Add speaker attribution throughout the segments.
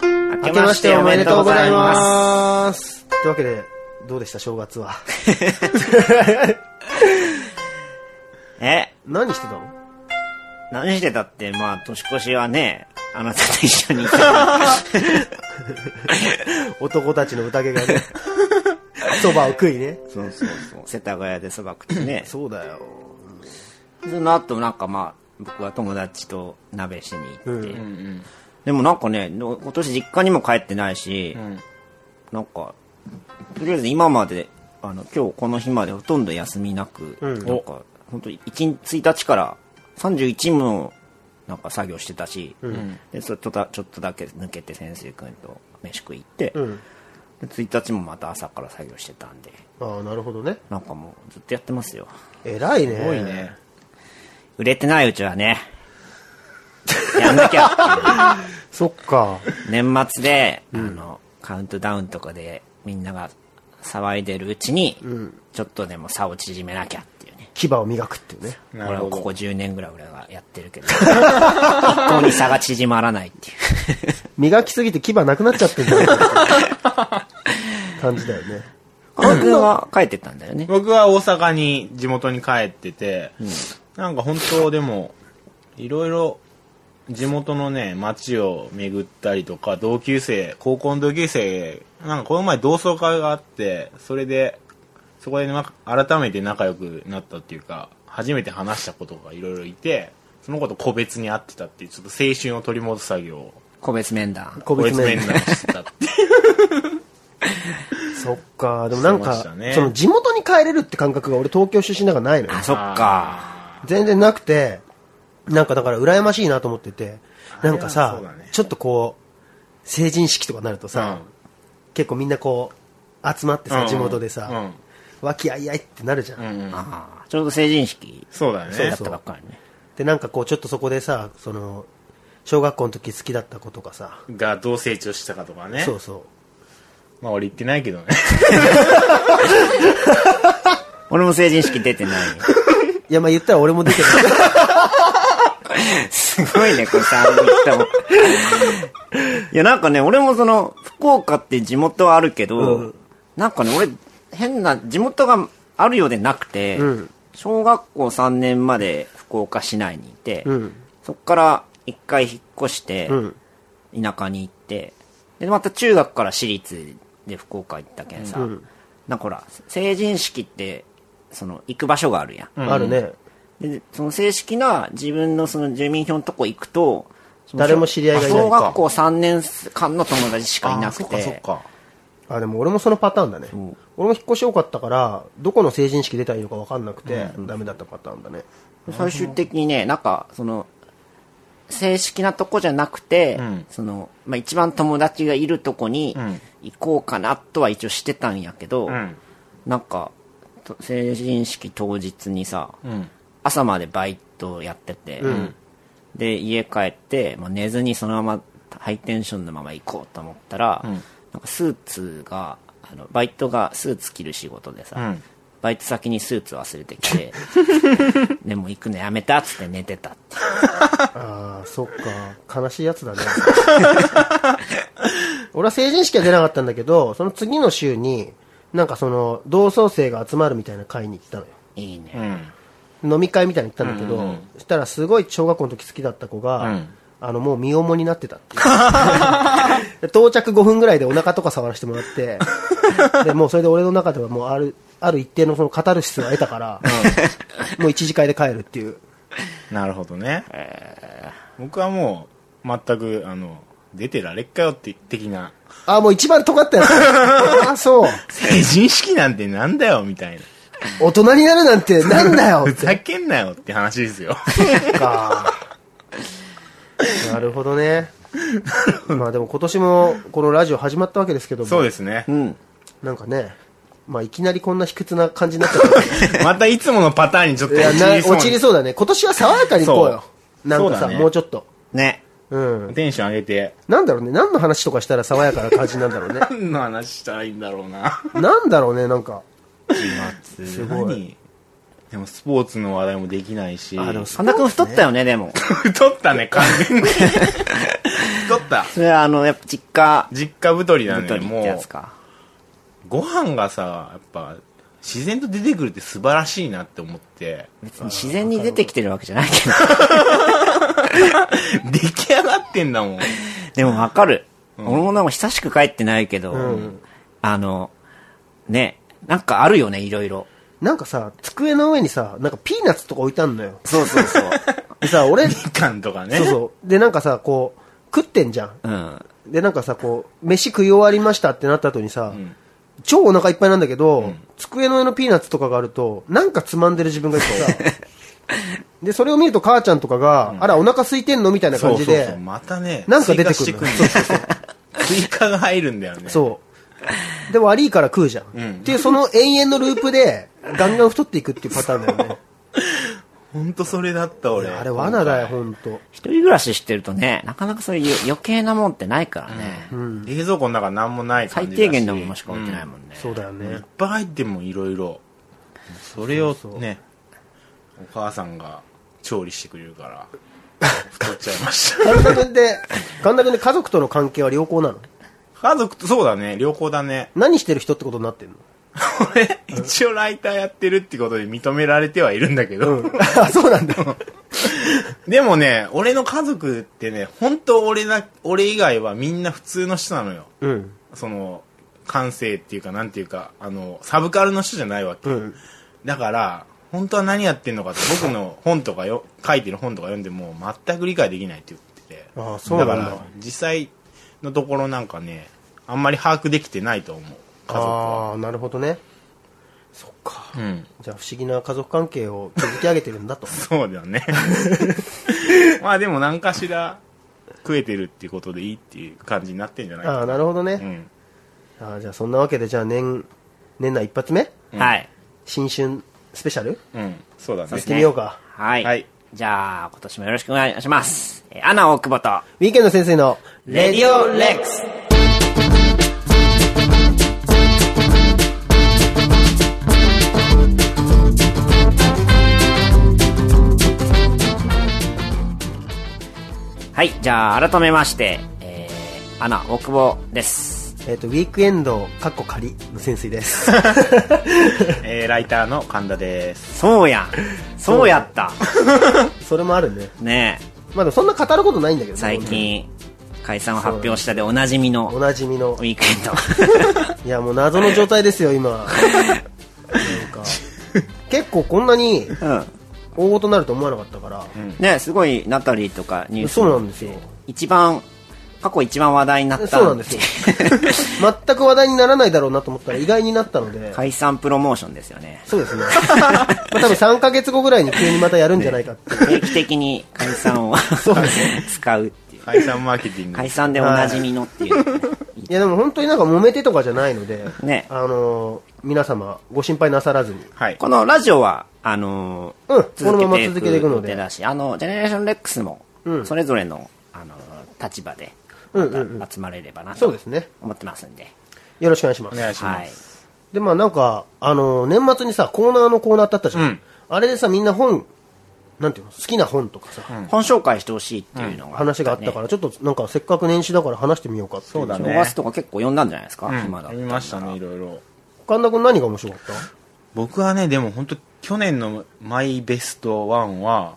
Speaker 1: 明けましておめでとうございます。というわけで、どうでした正月は。
Speaker 2: え、
Speaker 1: 何してたの
Speaker 2: 何してたって、まあ、年越しはね、あなたと一緒にいたから。
Speaker 1: 男たちの宴が ね。そばを食いね。
Speaker 2: そうそうそう。世田谷でそば食ってね。そ
Speaker 1: そうだよ。
Speaker 2: の後、なんかまあ、僕は友達と鍋しに
Speaker 1: う
Speaker 2: 行って。
Speaker 1: ん。
Speaker 2: でもなんかね、の今年実家にも帰ってないし、なんか、とりあえず今まで、あの、今日この日までほとんど休みなく、
Speaker 1: うん
Speaker 2: なんか、本当に1日1日から31も、なんか作業してたし、でそれちょっとちょっとだけ抜けて先生君と飯食い行って、
Speaker 1: うん。
Speaker 2: で1日もまた朝から作業してたんで、
Speaker 1: ああ、なるほどね。
Speaker 2: なんかもうずっとやってますよ。
Speaker 1: 偉いね。
Speaker 3: すごいね。
Speaker 2: 売れてないうちはね、やんなきゃっていう。
Speaker 1: そっか。
Speaker 2: 年末で、あのカウントダウンとかでみんなが騒いでるうちに、ちょっとでも差を縮めなきゃっていうね
Speaker 1: 牙を磨くっていうね。
Speaker 2: これをここ10年ぐらい俺がやってるけど一向に差が縮まらないっていう
Speaker 1: 磨きすぎて牙なくなっちゃってるんじゃな いかっていう感じだよね。
Speaker 2: カ君は帰ってったんだよね
Speaker 3: 僕は大阪に地元に帰ってて、なんか本当でもいろいろ地元のね街を巡ったりとか同級生高校の同級生なんかこの前同窓会があってそれでそこでなんか改めて仲良くなったっていうか初めて話したことがいろいろいてその子と個別に会ってたっていうちょっと青春を取り戻す作業を
Speaker 2: 個別面談
Speaker 1: 個別面
Speaker 3: 談してたって いう
Speaker 1: そっか。でもなん
Speaker 3: し
Speaker 1: か
Speaker 3: てました、ね
Speaker 1: その地元に帰れるって感覚が俺東京出身だからないのよ
Speaker 2: あ。そっか
Speaker 1: 全然なくて、なんかだから羨ましいなと思ってて、なんか
Speaker 3: あれは
Speaker 1: さ、
Speaker 3: そうだね
Speaker 1: ちょっとこう、成人式とかになるとさ、結構みんなこう、集まって
Speaker 3: う
Speaker 1: さ、
Speaker 3: ん
Speaker 1: 地元でさ、和気あいあいってなるじゃん。
Speaker 3: うんうん
Speaker 2: あーちょうど成人式
Speaker 3: そうだね
Speaker 2: やったばっかりね
Speaker 1: で、なんかこう、ちょっとそこでさ、その、小学校の時好きだった子とかさ、
Speaker 3: がどう成長したかとかね
Speaker 1: そうそ
Speaker 3: まあ俺言ってないけどね。
Speaker 2: 俺も成人式出てない
Speaker 1: う。いや、まあ言ったら俺も出てる。
Speaker 2: すごいねこれ3人ともいやなんかね俺もその福岡って地元はあるけど、
Speaker 1: うん
Speaker 2: なんかね俺変な地元があるようでなくて、
Speaker 1: うん
Speaker 2: 小学校3年まで福岡市内にいて、
Speaker 1: うん。
Speaker 2: そっから一回引っ越して、
Speaker 1: うん。
Speaker 2: 田舎に行ってでまた中学から私立で福岡行ったけんさ、
Speaker 1: うん
Speaker 2: なんかほら成人式ってその行く場所があるやん
Speaker 1: あるね。
Speaker 2: でその正式な自分のその住民票のとこ行くとその
Speaker 1: 誰も知り合いがいない
Speaker 2: 小学校3年間の友達しかいなく
Speaker 3: あそっかそってか。
Speaker 1: あ、でも俺もそのパターンだね
Speaker 2: う。
Speaker 1: 俺も引っ越し多かったから、どこの成人式出たらいいのか分かんなくて、ダメだったパターンだね。
Speaker 2: 最終的にねなんかその正式なとこじゃなくて、
Speaker 3: ん
Speaker 2: そのまあ、一番友達がいるとこに
Speaker 3: ん
Speaker 2: 行こうかなとは一応してたんやけど、
Speaker 3: うん。
Speaker 2: なんかと成人式当日にさ、
Speaker 3: うん。
Speaker 2: 朝までバイトやってて、で家帰って、まあ、寝ずにそのままハイテンションのまま行こうと思ったら、
Speaker 3: ん
Speaker 2: なんかスーツがあのバイトがスーツ着る仕事でさ、
Speaker 3: ん
Speaker 2: バイト先にスーツ忘れてき てでもう行くのやめたっつって寝てたって
Speaker 1: ああ、そっか。悲しいや つだね。俺は成人式は出なかったんだけど、その次の週に、なんかその、同窓生が集まるみたいな会に行ったのよ。
Speaker 2: いいね、
Speaker 3: うん。
Speaker 1: 飲み会みたいに行ったんだけど、
Speaker 3: うんうん
Speaker 1: そしたらすごい小学校の時好きだった子が、
Speaker 3: うん
Speaker 1: あの、もう身重になってたっていう で到着5分ぐらいでお腹とか触らせてもら って、で、もうそれで俺の中ではもうある、ある一定のそのカタルシスを得たから、もう一時会で帰るっていう。
Speaker 3: なるほどね。僕はもう、全く、あの、出てられっかよって、的な。
Speaker 1: ああ、もう一番尖ったやつ。ああ、そう。
Speaker 3: 成人式なんてなんだよ、みたいな。
Speaker 1: 大人になるなんてなんだ よ
Speaker 3: ふざけんなよって話ですよ。
Speaker 1: か。なるほどね。まあでも今年もこのラジオ始まったわけですけども、
Speaker 3: そうですね。
Speaker 2: うん
Speaker 1: なんかね、まあいきなりこんな卑屈な感じになっちゃった。
Speaker 3: またいつものパターンにちょっと
Speaker 1: いや、な落ち
Speaker 3: に
Speaker 1: りそうだね。今年は爽やかにいこうよ。
Speaker 3: そう
Speaker 1: なんか
Speaker 3: そ
Speaker 1: さ、
Speaker 3: うだね
Speaker 1: もうちょっと。
Speaker 2: ね
Speaker 1: うん。
Speaker 3: テンション上げて、
Speaker 1: なんだろうね。何の話とかしたら爽やかな感じなんだろうね。
Speaker 3: 何の話したらいいんだろうな。
Speaker 1: なんだろうね、なんか。
Speaker 3: す
Speaker 1: ごい
Speaker 3: でもスポーツの話題もできないし。
Speaker 1: あでも
Speaker 2: 神田君太ったよねでも
Speaker 3: 太ったね、完全に。太っった。
Speaker 2: それはあの、やっぱ実家、
Speaker 3: 実家太りな
Speaker 2: 太
Speaker 3: のに、
Speaker 2: りってや
Speaker 3: も
Speaker 2: つか。
Speaker 3: う、ご飯がさ、やっぱ、自然と出てくるって素晴らしいなって思って、
Speaker 2: 別に自然に出てきてるわけじゃないけど。
Speaker 3: 出来上がってんだもん。
Speaker 2: でもわかる。俺もなんか久しく帰ってないけど、あの、ね、なんかあるよね、いろいろ。
Speaker 1: なんかさ、机の上にさ、なんかピーナッツとか置いてあんのよ。
Speaker 2: そうそうそう。
Speaker 1: でさ、俺、
Speaker 3: みかんとかね。
Speaker 1: そうそう。で、なんかさ、こう、食ってんじゃん。
Speaker 2: うん。
Speaker 1: で、なんかさ、こう、飯食い終わりましたってなった後にさ、超お腹いっぱいなんだけど、机の上のピーナッツとかがあると、なんかつまんでる自分がいてさ、で、それを見ると母ちゃんとかが、あら、お腹空いてんのみたいな感じ
Speaker 3: そうそうそう
Speaker 1: で、
Speaker 3: またね、
Speaker 1: なんか出てくる
Speaker 3: 追
Speaker 1: の
Speaker 3: 加してくんだよ 追加が入るんだよね。
Speaker 1: そう。でも、悪いから食うじゃん。っていう、その延々のループで、ガンガン太っていくっていうパターンだよね。
Speaker 3: ほんとそれだった、俺。
Speaker 1: あれ、罠だよ、ほんと。
Speaker 2: 一人暮らししてるとね、なかなかそういう余計なもんってないからね。
Speaker 3: 冷蔵庫の中なんもない感
Speaker 2: 最
Speaker 3: じだし
Speaker 2: 低限のものしか置いてないもんね。
Speaker 1: そうだよ
Speaker 3: うんいっ
Speaker 1: ね。
Speaker 3: ぱい入ってんもんいろいろそれを
Speaker 1: そうそう
Speaker 3: ねお母さんが調理してくれるから太っちゃいまし
Speaker 1: 神田君って、神田君って家族との関係は良好なの
Speaker 3: た家族とそうだね良好だね
Speaker 1: 何してる人ってことになってんの
Speaker 3: 俺一応ライターやってるってことで認められてはいるんだけど、
Speaker 1: あ、そうなんだ。
Speaker 3: でもね俺の家族ってね本当俺な俺以外はみんな普通の人なのよ
Speaker 1: うん。
Speaker 3: その感性っていうかなんていうかあのサブカルの人じゃないわけ、
Speaker 1: うん。
Speaker 3: だから、本当は何やってんのかって、僕の本とかよ、書いてる本とか読んでも、全く理解できないって言ってて。
Speaker 1: ああそうなんだ
Speaker 3: から、実際のところなんかね、あんまり把握できてないと思う。家族は。
Speaker 1: ああーなるほどねそっか、
Speaker 3: うん。
Speaker 1: じゃあ不思議な家族関係を築き上げてるんだと
Speaker 3: そうだ ね。まあでも何かしら食えてるっていうことでいいっていう感じになってんじゃない
Speaker 1: あ
Speaker 3: か
Speaker 1: あなるほど
Speaker 3: な。う
Speaker 1: ね、
Speaker 3: ん。
Speaker 1: ああじゃあそんなわけでじゃあ年年内一発目
Speaker 2: はい。
Speaker 1: 新春スペシャル
Speaker 3: うん。そうだ
Speaker 1: 行
Speaker 3: ね
Speaker 1: っ。てみようか、
Speaker 2: はい。
Speaker 3: はい
Speaker 2: じゃあ、今年もよろしくお願いします。えーアナ大久保と、
Speaker 1: ウィーケンド先生の
Speaker 2: レディオレックス。はい、じゃあ改めまして、えー、アナ大久保です。
Speaker 1: えっ、とウィークエンドかっこ仮の潜水です
Speaker 3: えー、ライターの神田です。
Speaker 2: そうやん、そうやった。
Speaker 1: それもあるね
Speaker 2: ねえ
Speaker 1: まあでもそんな語ることないんだけどね
Speaker 2: 最近、解散を発表したでおなじみ
Speaker 1: お
Speaker 2: の
Speaker 1: なじみの
Speaker 2: ウィークエンド。
Speaker 1: いやもう謎の状態ですよ今なんか結構こんなに
Speaker 2: うん
Speaker 1: 大事になると思わなかったから、
Speaker 2: ね、すごいナタリーとかニュース
Speaker 1: そうなんですよ
Speaker 2: 一番過去一番話題になった
Speaker 1: そうなんで すよ全く話題にならないだろうなと思ったら意外になったので、
Speaker 2: 解散プロモーションですよね
Speaker 1: そうですねまあ多分3ヶ月後ぐらいに急にまたやるんじゃないかっていう、
Speaker 2: 定期的に解散 を使うっていう
Speaker 3: 解散マーケティング。
Speaker 2: 解散でおなじみのっていうね、
Speaker 1: いやでも本当になんか揉めてとかじゃないので、
Speaker 2: ね
Speaker 1: あのー皆様ご心配なさらずに
Speaker 3: はい。
Speaker 2: このラジオはあのー
Speaker 1: うんこのまま続けていくので
Speaker 2: 予定だしあのジェネレーションレックスも
Speaker 1: うん
Speaker 2: それぞれの、あのー立場で
Speaker 1: うんうんうん
Speaker 2: また集まれればな
Speaker 1: そう
Speaker 2: と
Speaker 1: ですね
Speaker 2: 思ってますんで、
Speaker 1: よろしくお願いしま
Speaker 3: お
Speaker 1: す
Speaker 3: 願いします。
Speaker 2: はい
Speaker 1: でまあなんか、あのー年末にさコーナーのコーナーだったじゃん、
Speaker 3: うん
Speaker 1: あれでさみんな本なんていうの好きな本とかさ、
Speaker 2: 本紹介してほしいっていうのが、
Speaker 1: 話があったから、ちょっとなんかせっかく年始だから話してみようかってい
Speaker 3: そうだね
Speaker 2: 正月とか結構読んだんじゃないですか、
Speaker 3: うん
Speaker 2: 暇だった
Speaker 3: 読みましたね、いろいろ。
Speaker 1: 神田君何が面白かった
Speaker 3: 僕はねでも本当去年のマイベストワンは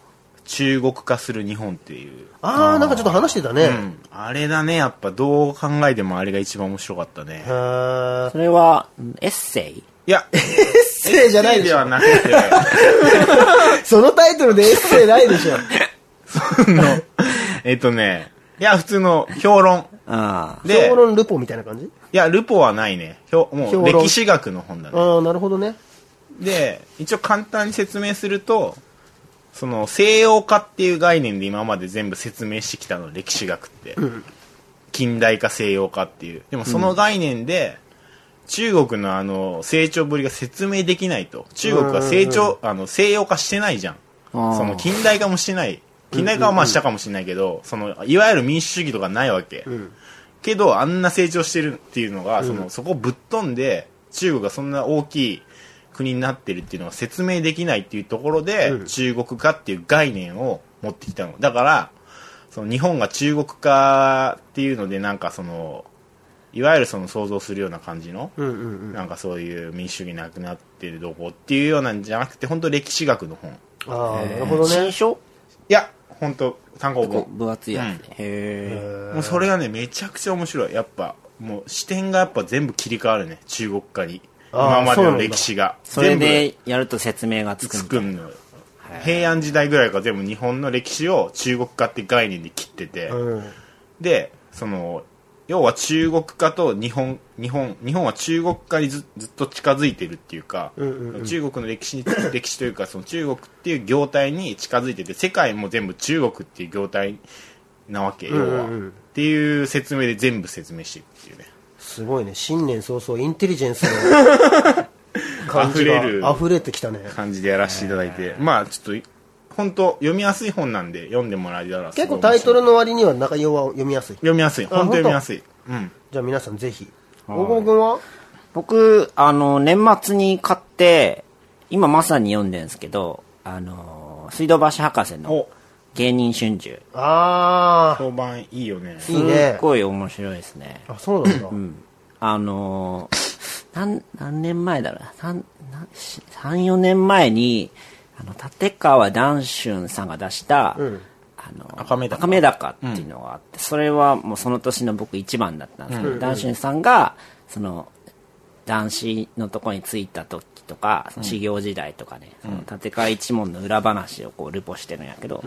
Speaker 3: 中国化する日本っていう、
Speaker 1: ああなんかちょっと話してたね、
Speaker 3: う
Speaker 1: へ
Speaker 3: ん、あれだねやっぱどう考えてもあれが一番面白かったね
Speaker 1: ー
Speaker 2: それはうんエッセイ
Speaker 3: いやエッ
Speaker 1: セイじゃないでしょ
Speaker 3: はなくて
Speaker 1: そのタイトルでエッセイないでしょ。
Speaker 3: そ のえっとねいや普通の評論
Speaker 2: ああ
Speaker 3: で
Speaker 1: 評論ルポみたいな感じ
Speaker 3: いやルポはないね評も
Speaker 1: 評
Speaker 3: う
Speaker 1: 論
Speaker 3: 歴史学の本だね
Speaker 1: ああ、なるほどね。
Speaker 3: で一応簡単に説明するとその西洋化っていう概念で今まで全部説明してきたの歴史学って、近代化西洋化っていうでもその概念で、中国のあの成長ぶりが説明できないと中国は成長、あの西洋化してないじゃん
Speaker 2: あー
Speaker 3: その近代化もしてない近代化はまあしたかもしれないけど、そのいわゆる民主主義とかないわけ、けどあんな成長してるっていうのが、そのそこをぶっ飛んで中国がそんな大きい国になってるっていうのは説明できないっていうところで、中国化っていう概念を持ってきたのだからその日本が中国化っていうのでなんかそのいわゆるその想像するような感じの、
Speaker 1: うんうんうん。
Speaker 3: なんかそういう民主主義なくなってるどこっていうようなんじゃなくて本当歴史学の本い
Speaker 1: ああ、なるほど
Speaker 2: 新。
Speaker 1: ね
Speaker 2: 書
Speaker 3: や本当単行
Speaker 2: 結構
Speaker 3: 本
Speaker 2: 分厚いやつね。へ
Speaker 3: もうそれがねめちゃくちゃ面白いやっぱもう視点がやっぱ全部切り替わるね中国化に
Speaker 1: あー
Speaker 3: 今までの歴史が
Speaker 2: ーそれ
Speaker 3: 全部
Speaker 2: でやると説明がつく
Speaker 3: つ
Speaker 2: みたいな。
Speaker 3: くんのよ平安時代ぐらいから全部日本の歴史を中国化って概念で切ってて、
Speaker 1: うん。
Speaker 3: でその要は中国化と日本日本日本は中国化にずずっと近づいてるっていうか、
Speaker 1: んうん
Speaker 3: 中国の歴史に 歴史というかその中国っていう業態に近づいてて世界も全部中国っていう業態なわけ要は、
Speaker 1: うんうん
Speaker 3: っていう説明で全部説明していくっていうね
Speaker 1: すごいね。新年早々、インテリジェンスの 感じが
Speaker 3: 溢れる
Speaker 1: 溢れてきたね。
Speaker 3: 感じでやらせていただいて、まあちょっと本当読みやすい本なんで読んでもらえたらすご
Speaker 1: 結
Speaker 3: い
Speaker 1: 構タイトルの割には中容は読みやすい。
Speaker 3: 読みやすい
Speaker 1: あ
Speaker 3: 本当読みやすいうん
Speaker 1: じゃあ皆さんぜひ。大久保君は
Speaker 2: 僕、あの、年末に買って、今まさに読んでるんですけど、あの、水道橋博士の
Speaker 3: お
Speaker 2: 芸人春秋。
Speaker 1: あ
Speaker 3: 評判いいよね
Speaker 1: あ、いいね
Speaker 2: すっ。ごい面白いですね。
Speaker 1: あ、そうなんだ。
Speaker 2: あのー、何、何年前だろうな。三、何し三、四年前に、あの、立川談春さんが出した、
Speaker 1: うん
Speaker 2: あの、
Speaker 3: 赤目高
Speaker 2: 赤目高っていうのがあって、それはもうその年の僕一番だったんですけど、談春さんが、その、男子のとこに着いた時とか、その修行時代とかね、その立川一門の裏話をこうルポしてるんやけど、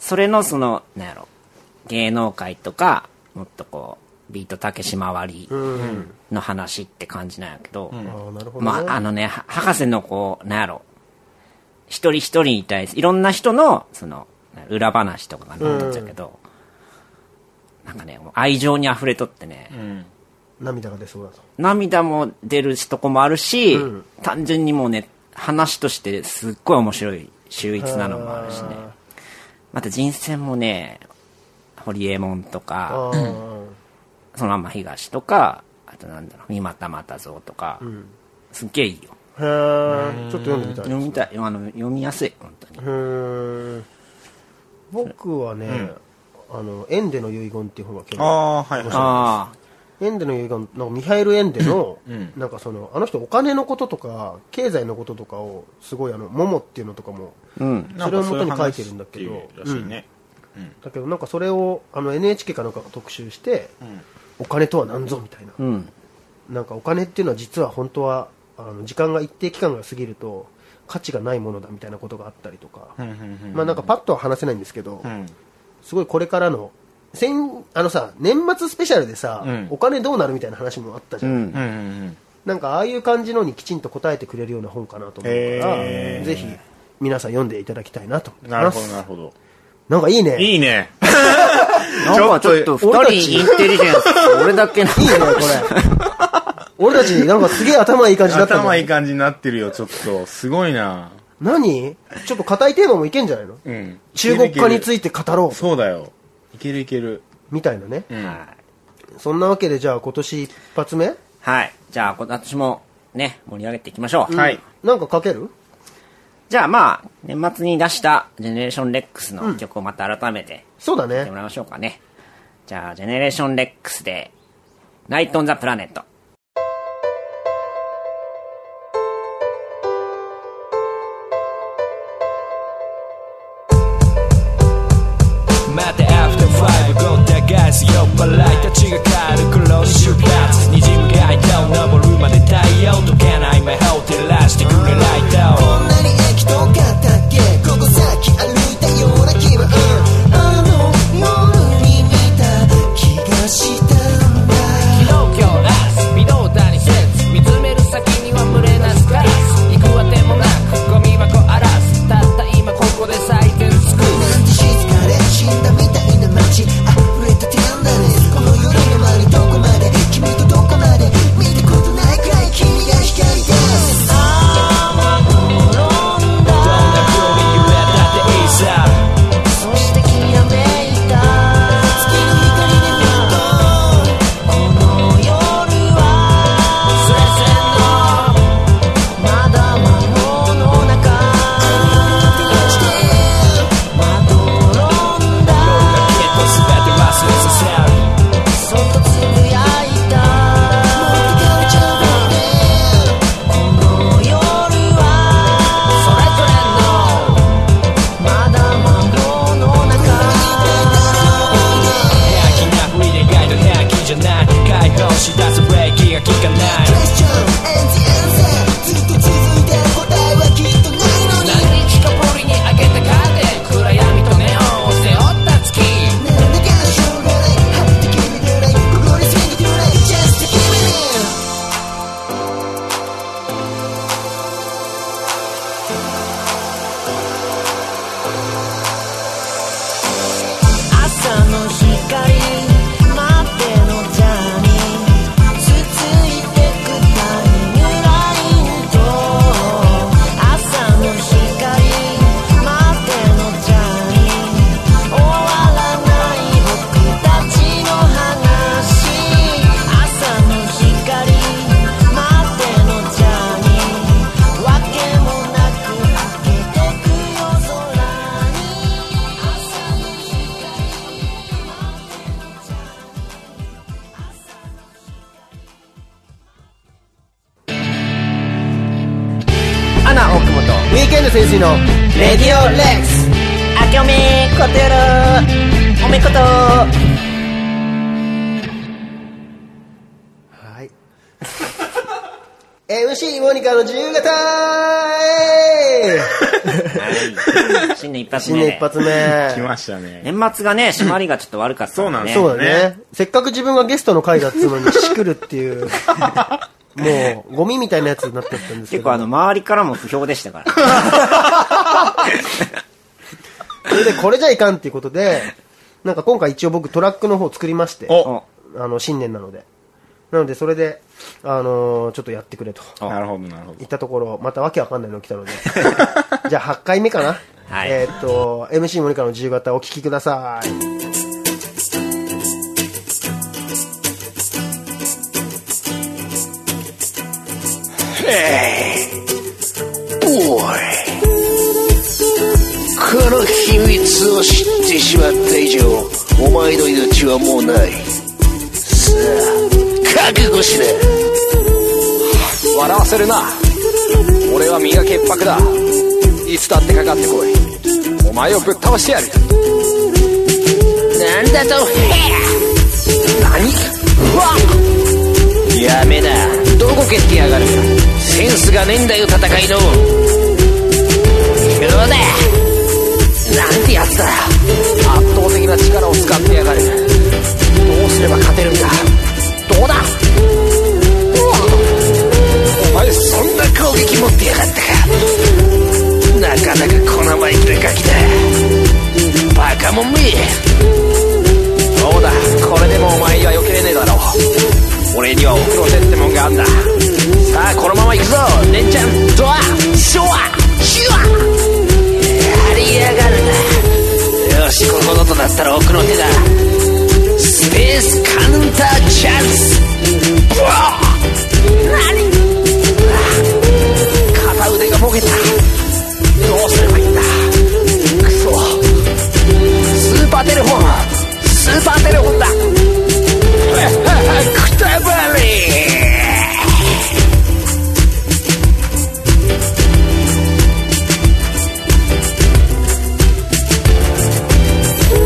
Speaker 2: それのその、なんやろ、芸能界とか、もっとこう、ビートたけし回りの話って感じなんやけど、
Speaker 1: ああ、なるほどね。
Speaker 2: まあ、あのね、は博士のこう、なんやろ、一人一人に対する、いろんな人の、その、裏話とかが載っとっちゃうけど、なんかね、もう愛情に溢れとってね、
Speaker 1: 涙が出そうだと。
Speaker 2: 涙も出るしとこもあるし、単純にもうね、話としてすっごい面白い、秀逸なのもあるしね。また人選もね、ホリエモンと
Speaker 1: あ
Speaker 2: か、
Speaker 1: あー、
Speaker 2: そのまま東とか、あとなんだろう、三股又蔵とか、すっげえいいよ。
Speaker 1: へえ、ちょっと読んでみたい。
Speaker 2: 読みたいあの読みやすい本当に
Speaker 1: うーん僕はね、あの、エンデの遺言っていう本が結構、
Speaker 3: ああはいはい
Speaker 2: あ
Speaker 1: エンデの遺言、なんかミハイル・エンデの、
Speaker 3: ん
Speaker 1: なんかその、あの人お金のこととか、経済のこととかを、すごいあの、モモっていうのとかも、
Speaker 2: あうん
Speaker 1: それを元に書いてるんだけど
Speaker 3: なんかそういう話っていうらしいね。
Speaker 1: だけどなんかそれを、あの、NHK かなんかが特集して、お金とは何ぞみたいな。
Speaker 2: うん
Speaker 1: なんかお金っていうのは実は本当はあの時間が一定期間が過ぎると価値がないものだみたいなことがあったりとか、
Speaker 3: うんうんうん
Speaker 1: まあなんかパッとは話せないんですけど、
Speaker 3: うん
Speaker 1: すごいこれからの先あのさ年末スペシャルでさ、
Speaker 3: うん
Speaker 1: お金どうなるみたいな話もあったじ
Speaker 2: う
Speaker 1: ゃん、
Speaker 2: ん
Speaker 3: うんうんうん
Speaker 1: なんかああいう感じのにきちんと答えてくれるような本かなと思うから、
Speaker 3: へー
Speaker 1: ぜひ皆さん読んでいただきたいなと思って
Speaker 3: なる
Speaker 1: ま
Speaker 3: ほど
Speaker 1: す
Speaker 3: なるほど
Speaker 1: なんかいいねいいね
Speaker 3: いいね
Speaker 2: なんかちょっと二人インテリジェンス俺だけな
Speaker 1: これ俺たちなんかすげえ頭いい感じだったん
Speaker 3: 頭
Speaker 1: だ
Speaker 3: いい感じになってるよちょっとすごいな
Speaker 1: 何ちょっと硬いテーマもいけんじゃないの
Speaker 3: うん
Speaker 1: 中国化につ
Speaker 3: い
Speaker 1: いて語ろ
Speaker 3: てそうだよいけるいける
Speaker 1: うみたいなね、
Speaker 3: うん
Speaker 1: そんなわけでじゃあ今年一発目
Speaker 2: はいじゃあ今年もね盛り上げていきましょう、
Speaker 3: はい
Speaker 1: なんかかける
Speaker 2: じゃあまあ年末に出した「ジェネレーションレックスの曲をまた改めて
Speaker 1: そうだ
Speaker 2: やって
Speaker 1: ね
Speaker 2: もらいましょうかね、じゃあ「ジェネレーションレックスで「ナイト・オン・ザ・プラネット」
Speaker 4: 待て After Five ごった返す酔っ払いたちが軽くロス出発にじむ街灯登るまで太陽溶けない魔法照らしてくれライト
Speaker 5: こんなに駅遠かったっけここさっき歩いたような気分あの夜に見た気がしたんだ
Speaker 4: 東京ラス
Speaker 1: の潜水のレディオレックス
Speaker 2: あ
Speaker 6: é
Speaker 2: けおめことよろおめこと
Speaker 1: はい MC モニカの自由形え
Speaker 2: 新年一
Speaker 1: ー
Speaker 2: 発
Speaker 1: 新
Speaker 2: 目
Speaker 1: 年一
Speaker 2: で
Speaker 1: 発目
Speaker 3: 来ましたね。
Speaker 2: 年末がね締まりがちょっと悪かった
Speaker 3: そうなん
Speaker 2: で
Speaker 3: ですす
Speaker 1: そうだねせっかく自分がゲストの回だっつうのにしくるっていうもうゴミみたいなやつになってったんですけ
Speaker 2: 結
Speaker 1: ど
Speaker 2: 構あの周りからも不評でしたから
Speaker 1: それでこれじゃいかんっていうことで、なんか今回一応僕トラックの方作りまして、
Speaker 3: お
Speaker 1: あの、新年なので。なのでそれで、あのーちょっとやってくれと
Speaker 3: なるほど、なるほど
Speaker 1: 言。ったところ、またわけわかんないの来たので。 じゃあ8回目かな。
Speaker 2: はい
Speaker 1: えーっと、MC モニカの自由形お聞きください。
Speaker 7: この秘密を知ってしまった以上お前の命はもうないさあ覚悟しな
Speaker 6: 笑わせるな俺は身が潔白だいつだってかかってこいお前をぶっ倒してやる
Speaker 7: なんだと何うわっやめだどこ蹴ってやがるセンスがねえんだよ戦いのそうだなんてやつだ
Speaker 6: 圧倒的な力を使ってやがるどうすれば勝てるんだどうだお前そ
Speaker 7: そんな攻撃持ってやがったかなかなかこの前とガキだバカもんめ
Speaker 6: どうだこれでもお前には避けれねえだろう俺には奥の手ってもんがあんださあこのまま行くぞレンちゃんドアショア
Speaker 7: シュワやりやがるなよしここぞとだったら奥の手だスペースカウンターチャンスブワー何
Speaker 6: 片腕がボケたどうすればいいんだクソスーパーテレフォンスーパーテレフォンだ
Speaker 7: くたばれ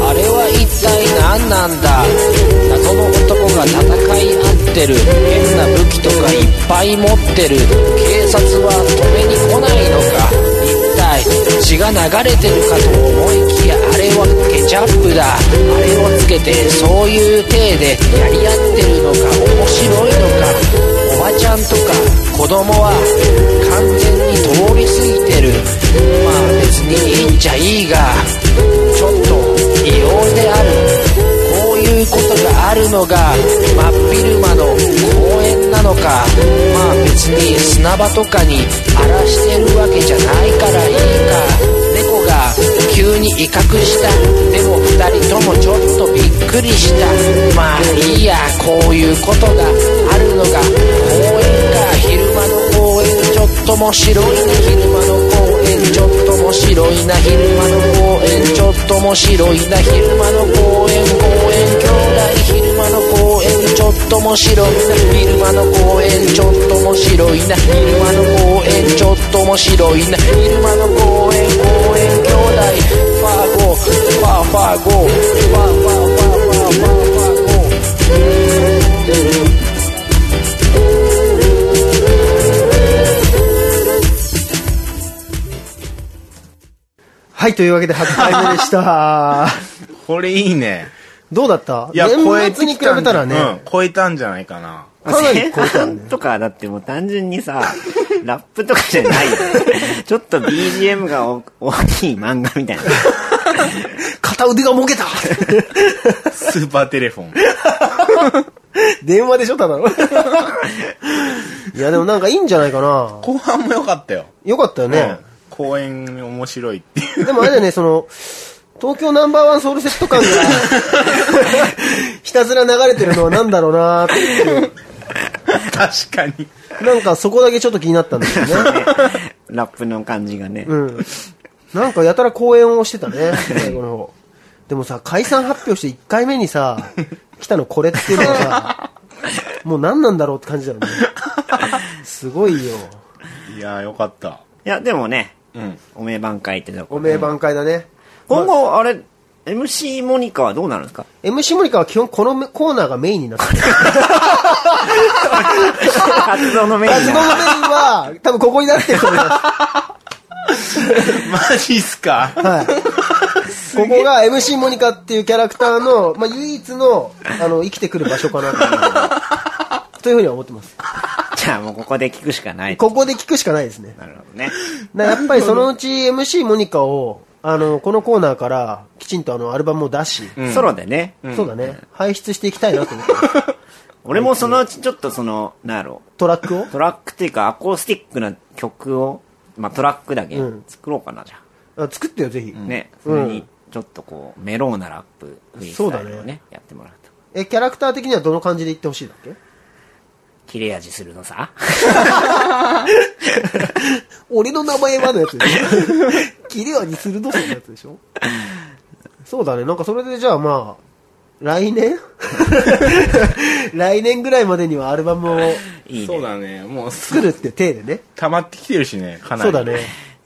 Speaker 6: あれは一体何なんだ謎の男が戦い合ってる変な武器とかいっぱい持ってる警察は止めに来ないのか一体血が流れてるかと思いきやあれはケチャップだあれをつけてそういう体でやり合ってるのか面白いのかおばちゃんとか子供は完全に通り過ぎてるまあ別にいいっちゃいいがちょっと異様であるこういうことがあるのが真っ昼間の公園なのかまあ別に砂場とかに荒らしてるわけじゃないからいいか猫が急に威嚇したでも2人ともちょっとびっくりしたまあいいやこういうことがあるのが公園か昼間の公園ちょっとも白いな昼間の公園ちょっとも白いな昼間の公園ちょっとも白いな昼間の公園公園兄弟昼間の公園ちょっとも白いな昼間の公園ちょっとも白いな昼間の公園ちょっとも白いな昼間の公園公園兄弟ファーゴファーファーゴファーファーファーファーファーファーゴ
Speaker 1: はい、というわけで8回目でした。
Speaker 3: これいいね。
Speaker 1: どうだった
Speaker 3: いや、超え
Speaker 1: 年
Speaker 3: て
Speaker 1: 末に
Speaker 3: き
Speaker 1: 比べ
Speaker 3: たん
Speaker 1: たらね、
Speaker 3: うん、超えたんじゃないかな。
Speaker 1: かなり
Speaker 2: 前
Speaker 1: 超えたよ
Speaker 2: 半
Speaker 1: ね。
Speaker 2: とかだってもう単純にさラップとかじゃないよ ちょっと BGM がお大きい漫画み たいな
Speaker 1: 片腕がもげた
Speaker 3: スーパーテレフォン。
Speaker 1: 電話でしょ、た だの。いや、でもなんかいいんじゃないかな。
Speaker 3: 後半も良かったよ。
Speaker 1: よかったよね。
Speaker 3: うん。公演面白いって いう。
Speaker 1: でもあれだよね、その、東京ナンバーワンソウルセット感が、ひたすら流れてるのはなんだろうなーっていう。
Speaker 3: 確かに。
Speaker 1: なんかそこだけちょっと気になったんですよね。
Speaker 2: ラップの感じがね、
Speaker 1: うん。なんかやたら公演をしてたね、最後の方。でもさ、解散発表して1回目にさ、来たのこれっていうのはさ、もう何なんだろうって感じだよね。すごいよ。
Speaker 3: いや、良かった。
Speaker 2: いやでもね、
Speaker 3: うん。
Speaker 2: お名挽回ってとこ
Speaker 1: お名挽回だね。
Speaker 2: 今後、あれ、MC モニカはどうなるんですか
Speaker 1: MC モニカは基本このコーナーがメインになってる。
Speaker 2: 活動のメイン
Speaker 1: 活動のメインは、多分ここになってると思います。
Speaker 3: マジっすか
Speaker 1: はい。ここが MC モニカっていうキャラクターの、まあ、唯一の、あの、生きてくる場所かなと。というふうには思ってます。
Speaker 2: じゃあもうここで聞くしかない。
Speaker 1: ここで聞くしかないですね。
Speaker 2: なるほどね。
Speaker 1: だからやっぱりそのうち MC モニカを、あの、このコーナーから、きちんとあの、アルバムを出し、
Speaker 2: ソロでね、
Speaker 1: そうだね、排出していきたいなと思ってます、
Speaker 2: 俺もそのうちちょっとその、なんやろ
Speaker 1: トラックを
Speaker 2: う、トラックっていうかアコースティックな曲を、まあトラックだけ
Speaker 1: うん
Speaker 2: 作ろうかな、じゃ
Speaker 1: あ作ってよ、ぜひ。
Speaker 2: あ。ね、
Speaker 1: う
Speaker 2: そ
Speaker 1: ん
Speaker 2: れにちょっとこう、メローなラップ、フリースタイル
Speaker 1: そ
Speaker 2: を
Speaker 1: うだね
Speaker 2: ね、やってもらうと。
Speaker 1: え、キャラクター的にはどの感じで言ってほしいだっけ
Speaker 2: 切れ味するの さ。
Speaker 1: 俺の名前はのやつでしょ切れはにするどそのやつでしょそうだね、なんかそれでじゃあまあ、来年来年ぐらいまでにはアルバムを
Speaker 2: いい
Speaker 3: そう
Speaker 2: ね。
Speaker 3: だね。もう、す
Speaker 1: 作るって体でね。
Speaker 3: 溜まってきてるしね、かな
Speaker 1: そう
Speaker 3: り。
Speaker 1: だね。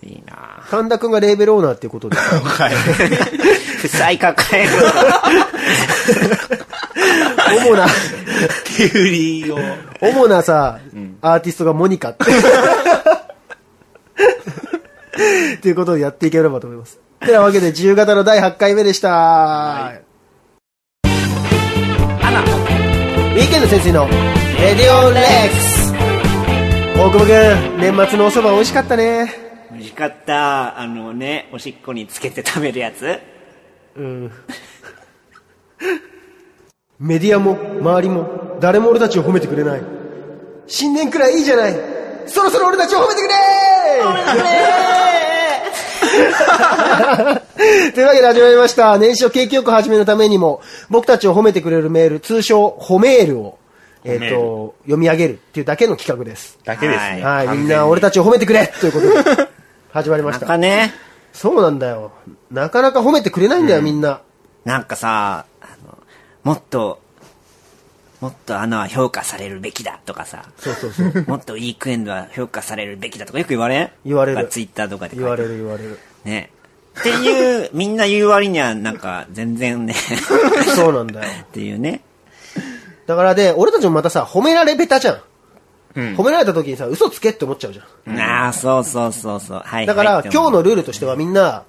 Speaker 2: いいな
Speaker 1: 神田くんがレーベルオーナーっていうことで。
Speaker 3: はい。
Speaker 2: 負債抱える。
Speaker 1: 主な、
Speaker 3: 手振りを。
Speaker 1: 主なさ、アーティストがモニカって。ということでやっていければと思います。てなわけで、自由形の第8回目でした。
Speaker 2: アナと
Speaker 1: ウィーケンド先生のレディオレックス大久保くん、年末のおそば美味しかったね。
Speaker 2: 美味しかった。あのね、おしっこにつけて食べるやつ。
Speaker 1: メディアも、周りも、誰も俺たちを褒めてくれない。新年くらいいいじゃない。そろそろ俺たちを褒めてくれというわけで始まりました。年始を景気よく始めるためにも、僕たちを褒めてくれるメール、通称、褒めールを、えっ、
Speaker 3: 褒めー
Speaker 1: と、読み上げるっていうだけの企画です。
Speaker 3: だけですね。
Speaker 1: はい、みんな俺たちを褒めてくれということで、始まりま
Speaker 2: な
Speaker 1: し
Speaker 2: ん
Speaker 1: た。
Speaker 2: かね、
Speaker 1: そうなんだよ。なかなか褒めてくれないんだよ、みんな。
Speaker 2: なんかさ、あのもっと、もっとアナは評価されるべきだとかさ、
Speaker 1: そうそうそう。
Speaker 2: もっとウィークエンドは評価されるべきだとかよく言われん
Speaker 1: 言われる
Speaker 2: ツイッターとかで書い
Speaker 1: 言
Speaker 2: て
Speaker 1: われる言われる。
Speaker 2: ね。っていう、みんな言う割にはなんか全然ね、
Speaker 1: そうなんだよ。
Speaker 2: っていうね。
Speaker 1: だからで、俺たちもまたさ、褒められべたじゃん。
Speaker 3: うん
Speaker 1: 褒められた時にさ、嘘つけって思っちゃうじゃん。
Speaker 2: ああ、そうそうそうそう。はい。
Speaker 1: だから、
Speaker 2: はい
Speaker 1: 今日のルールとしてはみんな、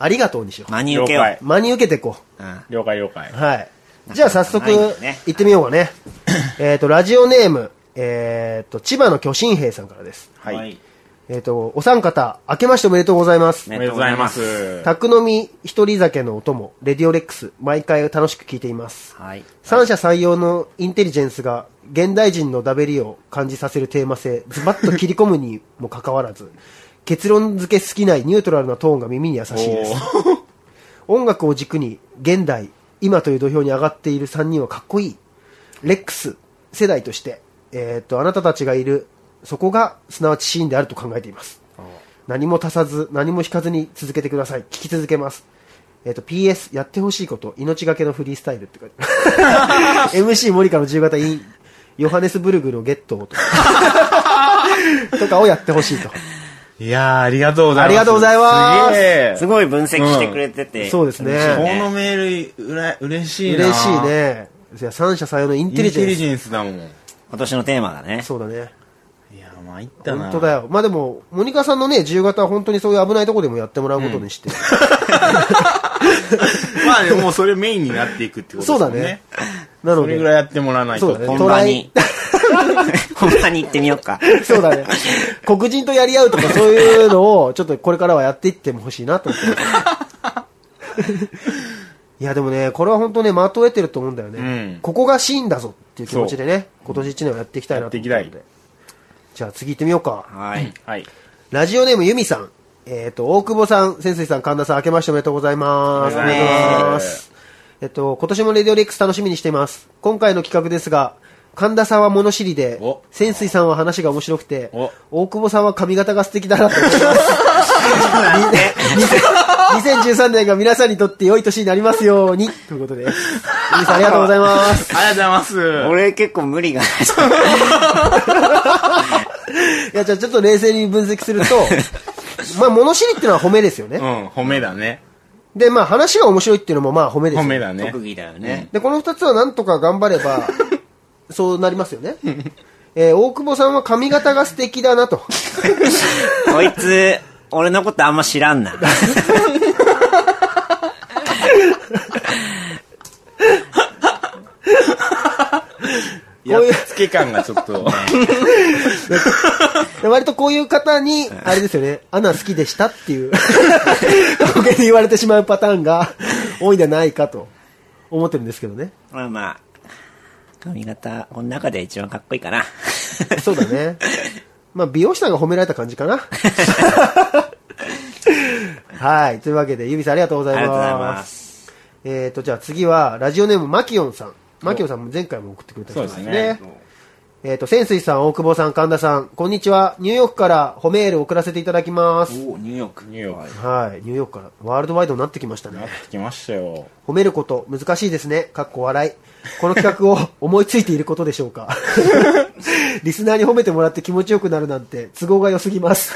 Speaker 1: ありがとうにしよ
Speaker 2: 真に受けよ
Speaker 3: 了
Speaker 2: う
Speaker 3: 解。
Speaker 1: う。真に受けてこ
Speaker 2: うん
Speaker 3: 了解了解
Speaker 1: う。。はい。じゃあ早速、
Speaker 2: ないよね
Speaker 1: 行ってみようかね。えっと、ラジオネーム、えっと、千葉の巨神兵さんからです。
Speaker 3: はい。
Speaker 1: えっと、お三方、明けましておめでとうございます。
Speaker 3: おめでとうございます。
Speaker 1: 宅飲み一人酒のお供、レディオレックス、毎回楽しく聞いています。
Speaker 2: はい。
Speaker 1: 三者採用のインテリジェンスが現代人のダベリを感じさせるテーマ性、ズバッと切り込むにもかかわらず、結論付け好きないニュートラルなトーンが耳に優しいです。音楽を軸に現代、今という土俵に上がっている3人はかっこいい。レックス世代として、えーっと、あなたたちがいる、そこがすなわちシーンであると考えています。何も足さず、何も引かずに続けてください。聞き続けます。えーっと、PS、やってほしいこと、命がけのフリースタイルって書いてあ る MC モニカの自由形 in、ヨハネスブルグのゲットをとか とかをやってほしいと。
Speaker 3: いやー、ありがとうございます。
Speaker 1: ありがとうございます
Speaker 3: すげー
Speaker 2: すごい分析してくれてて。
Speaker 1: そうですね
Speaker 2: 嬉しい
Speaker 3: このメール、うら、嬉しいな。
Speaker 1: 嬉しい。ね。いや三者採用のイン
Speaker 3: イン
Speaker 1: テ
Speaker 3: テ
Speaker 1: リ
Speaker 3: リ
Speaker 1: ジェンス。
Speaker 3: ジェンスだもん。い
Speaker 2: 今年のテーマだね。
Speaker 1: そうだね。
Speaker 3: や、参ったな。
Speaker 1: 本当だよ。まあでも、モニカさんのね、自由形は本当にそういう危ないとこでもやってもらうことに して。
Speaker 3: まあね、もうそれメインになっていくってこと
Speaker 1: そうだ
Speaker 3: ですもん
Speaker 1: ね
Speaker 3: ね。。
Speaker 1: なの
Speaker 3: そ
Speaker 1: で
Speaker 3: れぐ、らいやってもらわない
Speaker 1: そ
Speaker 3: と。
Speaker 1: うだね
Speaker 2: 本場に。本場に行って みようか。
Speaker 1: そうだ ね。黒人とやり合うとかそういうのを、ちょっとこれからはやっていってもほしいなと思って ます。いやでもね、これは本当ね、的を得てると思うんだよね。
Speaker 3: うん
Speaker 1: ここがシーンだぞっていう気持ちでね、今年一年はやっていきたいなと思ってる
Speaker 3: や
Speaker 1: の
Speaker 3: ってい
Speaker 1: で。じゃあ次行ってみようか。
Speaker 2: はい。
Speaker 3: はい。
Speaker 1: ラジオネームゆみさん。えっ、と、大久保さん、潜水さん、神田さん、明けましておめでとうございます。
Speaker 3: お
Speaker 1: あ
Speaker 3: め
Speaker 1: り
Speaker 3: で
Speaker 1: が
Speaker 3: と
Speaker 1: と
Speaker 3: う
Speaker 1: うご
Speaker 3: ござ
Speaker 1: ざ
Speaker 3: い
Speaker 1: い
Speaker 3: ます
Speaker 1: ます。えっと、今年もレディオレックス楽しみにしています。今回の企画ですが、神田さんは物知りで
Speaker 3: お、
Speaker 1: 潜水さんは話が面白くて
Speaker 3: お、
Speaker 1: 大久保さんは髪型が素敵だなと思います。2013年が皆さんにとって良い年になりますように、ということで。ゆみさん、ありがとうございます。
Speaker 3: ありがとうございます。
Speaker 2: 俺結構無理がない。
Speaker 1: いや、じゃあちょっと冷静に分析すると、まあ、物知りってのは褒めですよね。
Speaker 3: うん、褒めだね。
Speaker 1: で、まあ、話が面白いっていうのもまあ、褒めですよ
Speaker 3: 褒めだね。
Speaker 2: 特技だよね。
Speaker 1: で、この二つはなんとか頑張れ ば、そうなりますよね。えー大久保さんは髪型が素敵だなと。
Speaker 2: こいつ、俺のことあんま知らんな。
Speaker 3: やっつけ感がちょっ と。
Speaker 1: で割とこういう方に、あれですよね、アナ好きでしたっていう、 余計に言われてしまうパターンが多いんじゃないかと思ってるんですけどね。
Speaker 2: まあまあ、髪型、この中で一番かっこいいかな。
Speaker 1: そうだね。まあ、美容師さんが褒められた感じ かな。はい。というわけで、ゆびさんありがとうございま
Speaker 2: あ
Speaker 1: す。
Speaker 2: りがとうございます
Speaker 1: えっ、と、じゃあ次は、ラジオネーム、マキオンさん。マキオンさんも前回も送ってくれた人ですね。
Speaker 3: そうです
Speaker 1: えっ、と、潜水さん、大久保さん、神田さん、こんにちは。ニューヨークから褒めール送らせていただきます。
Speaker 2: おニューヨーク。
Speaker 3: ニューヨーク
Speaker 1: はい。ニューヨークから、ワールドワイドになってきましたね。
Speaker 3: 来ましたよ。
Speaker 1: 褒めること、難しいですね。かっこ笑い。この企画を思いついていることでしょうか。リスナーに褒めてもらって気持ちよくなるなんて都合が良すぎます。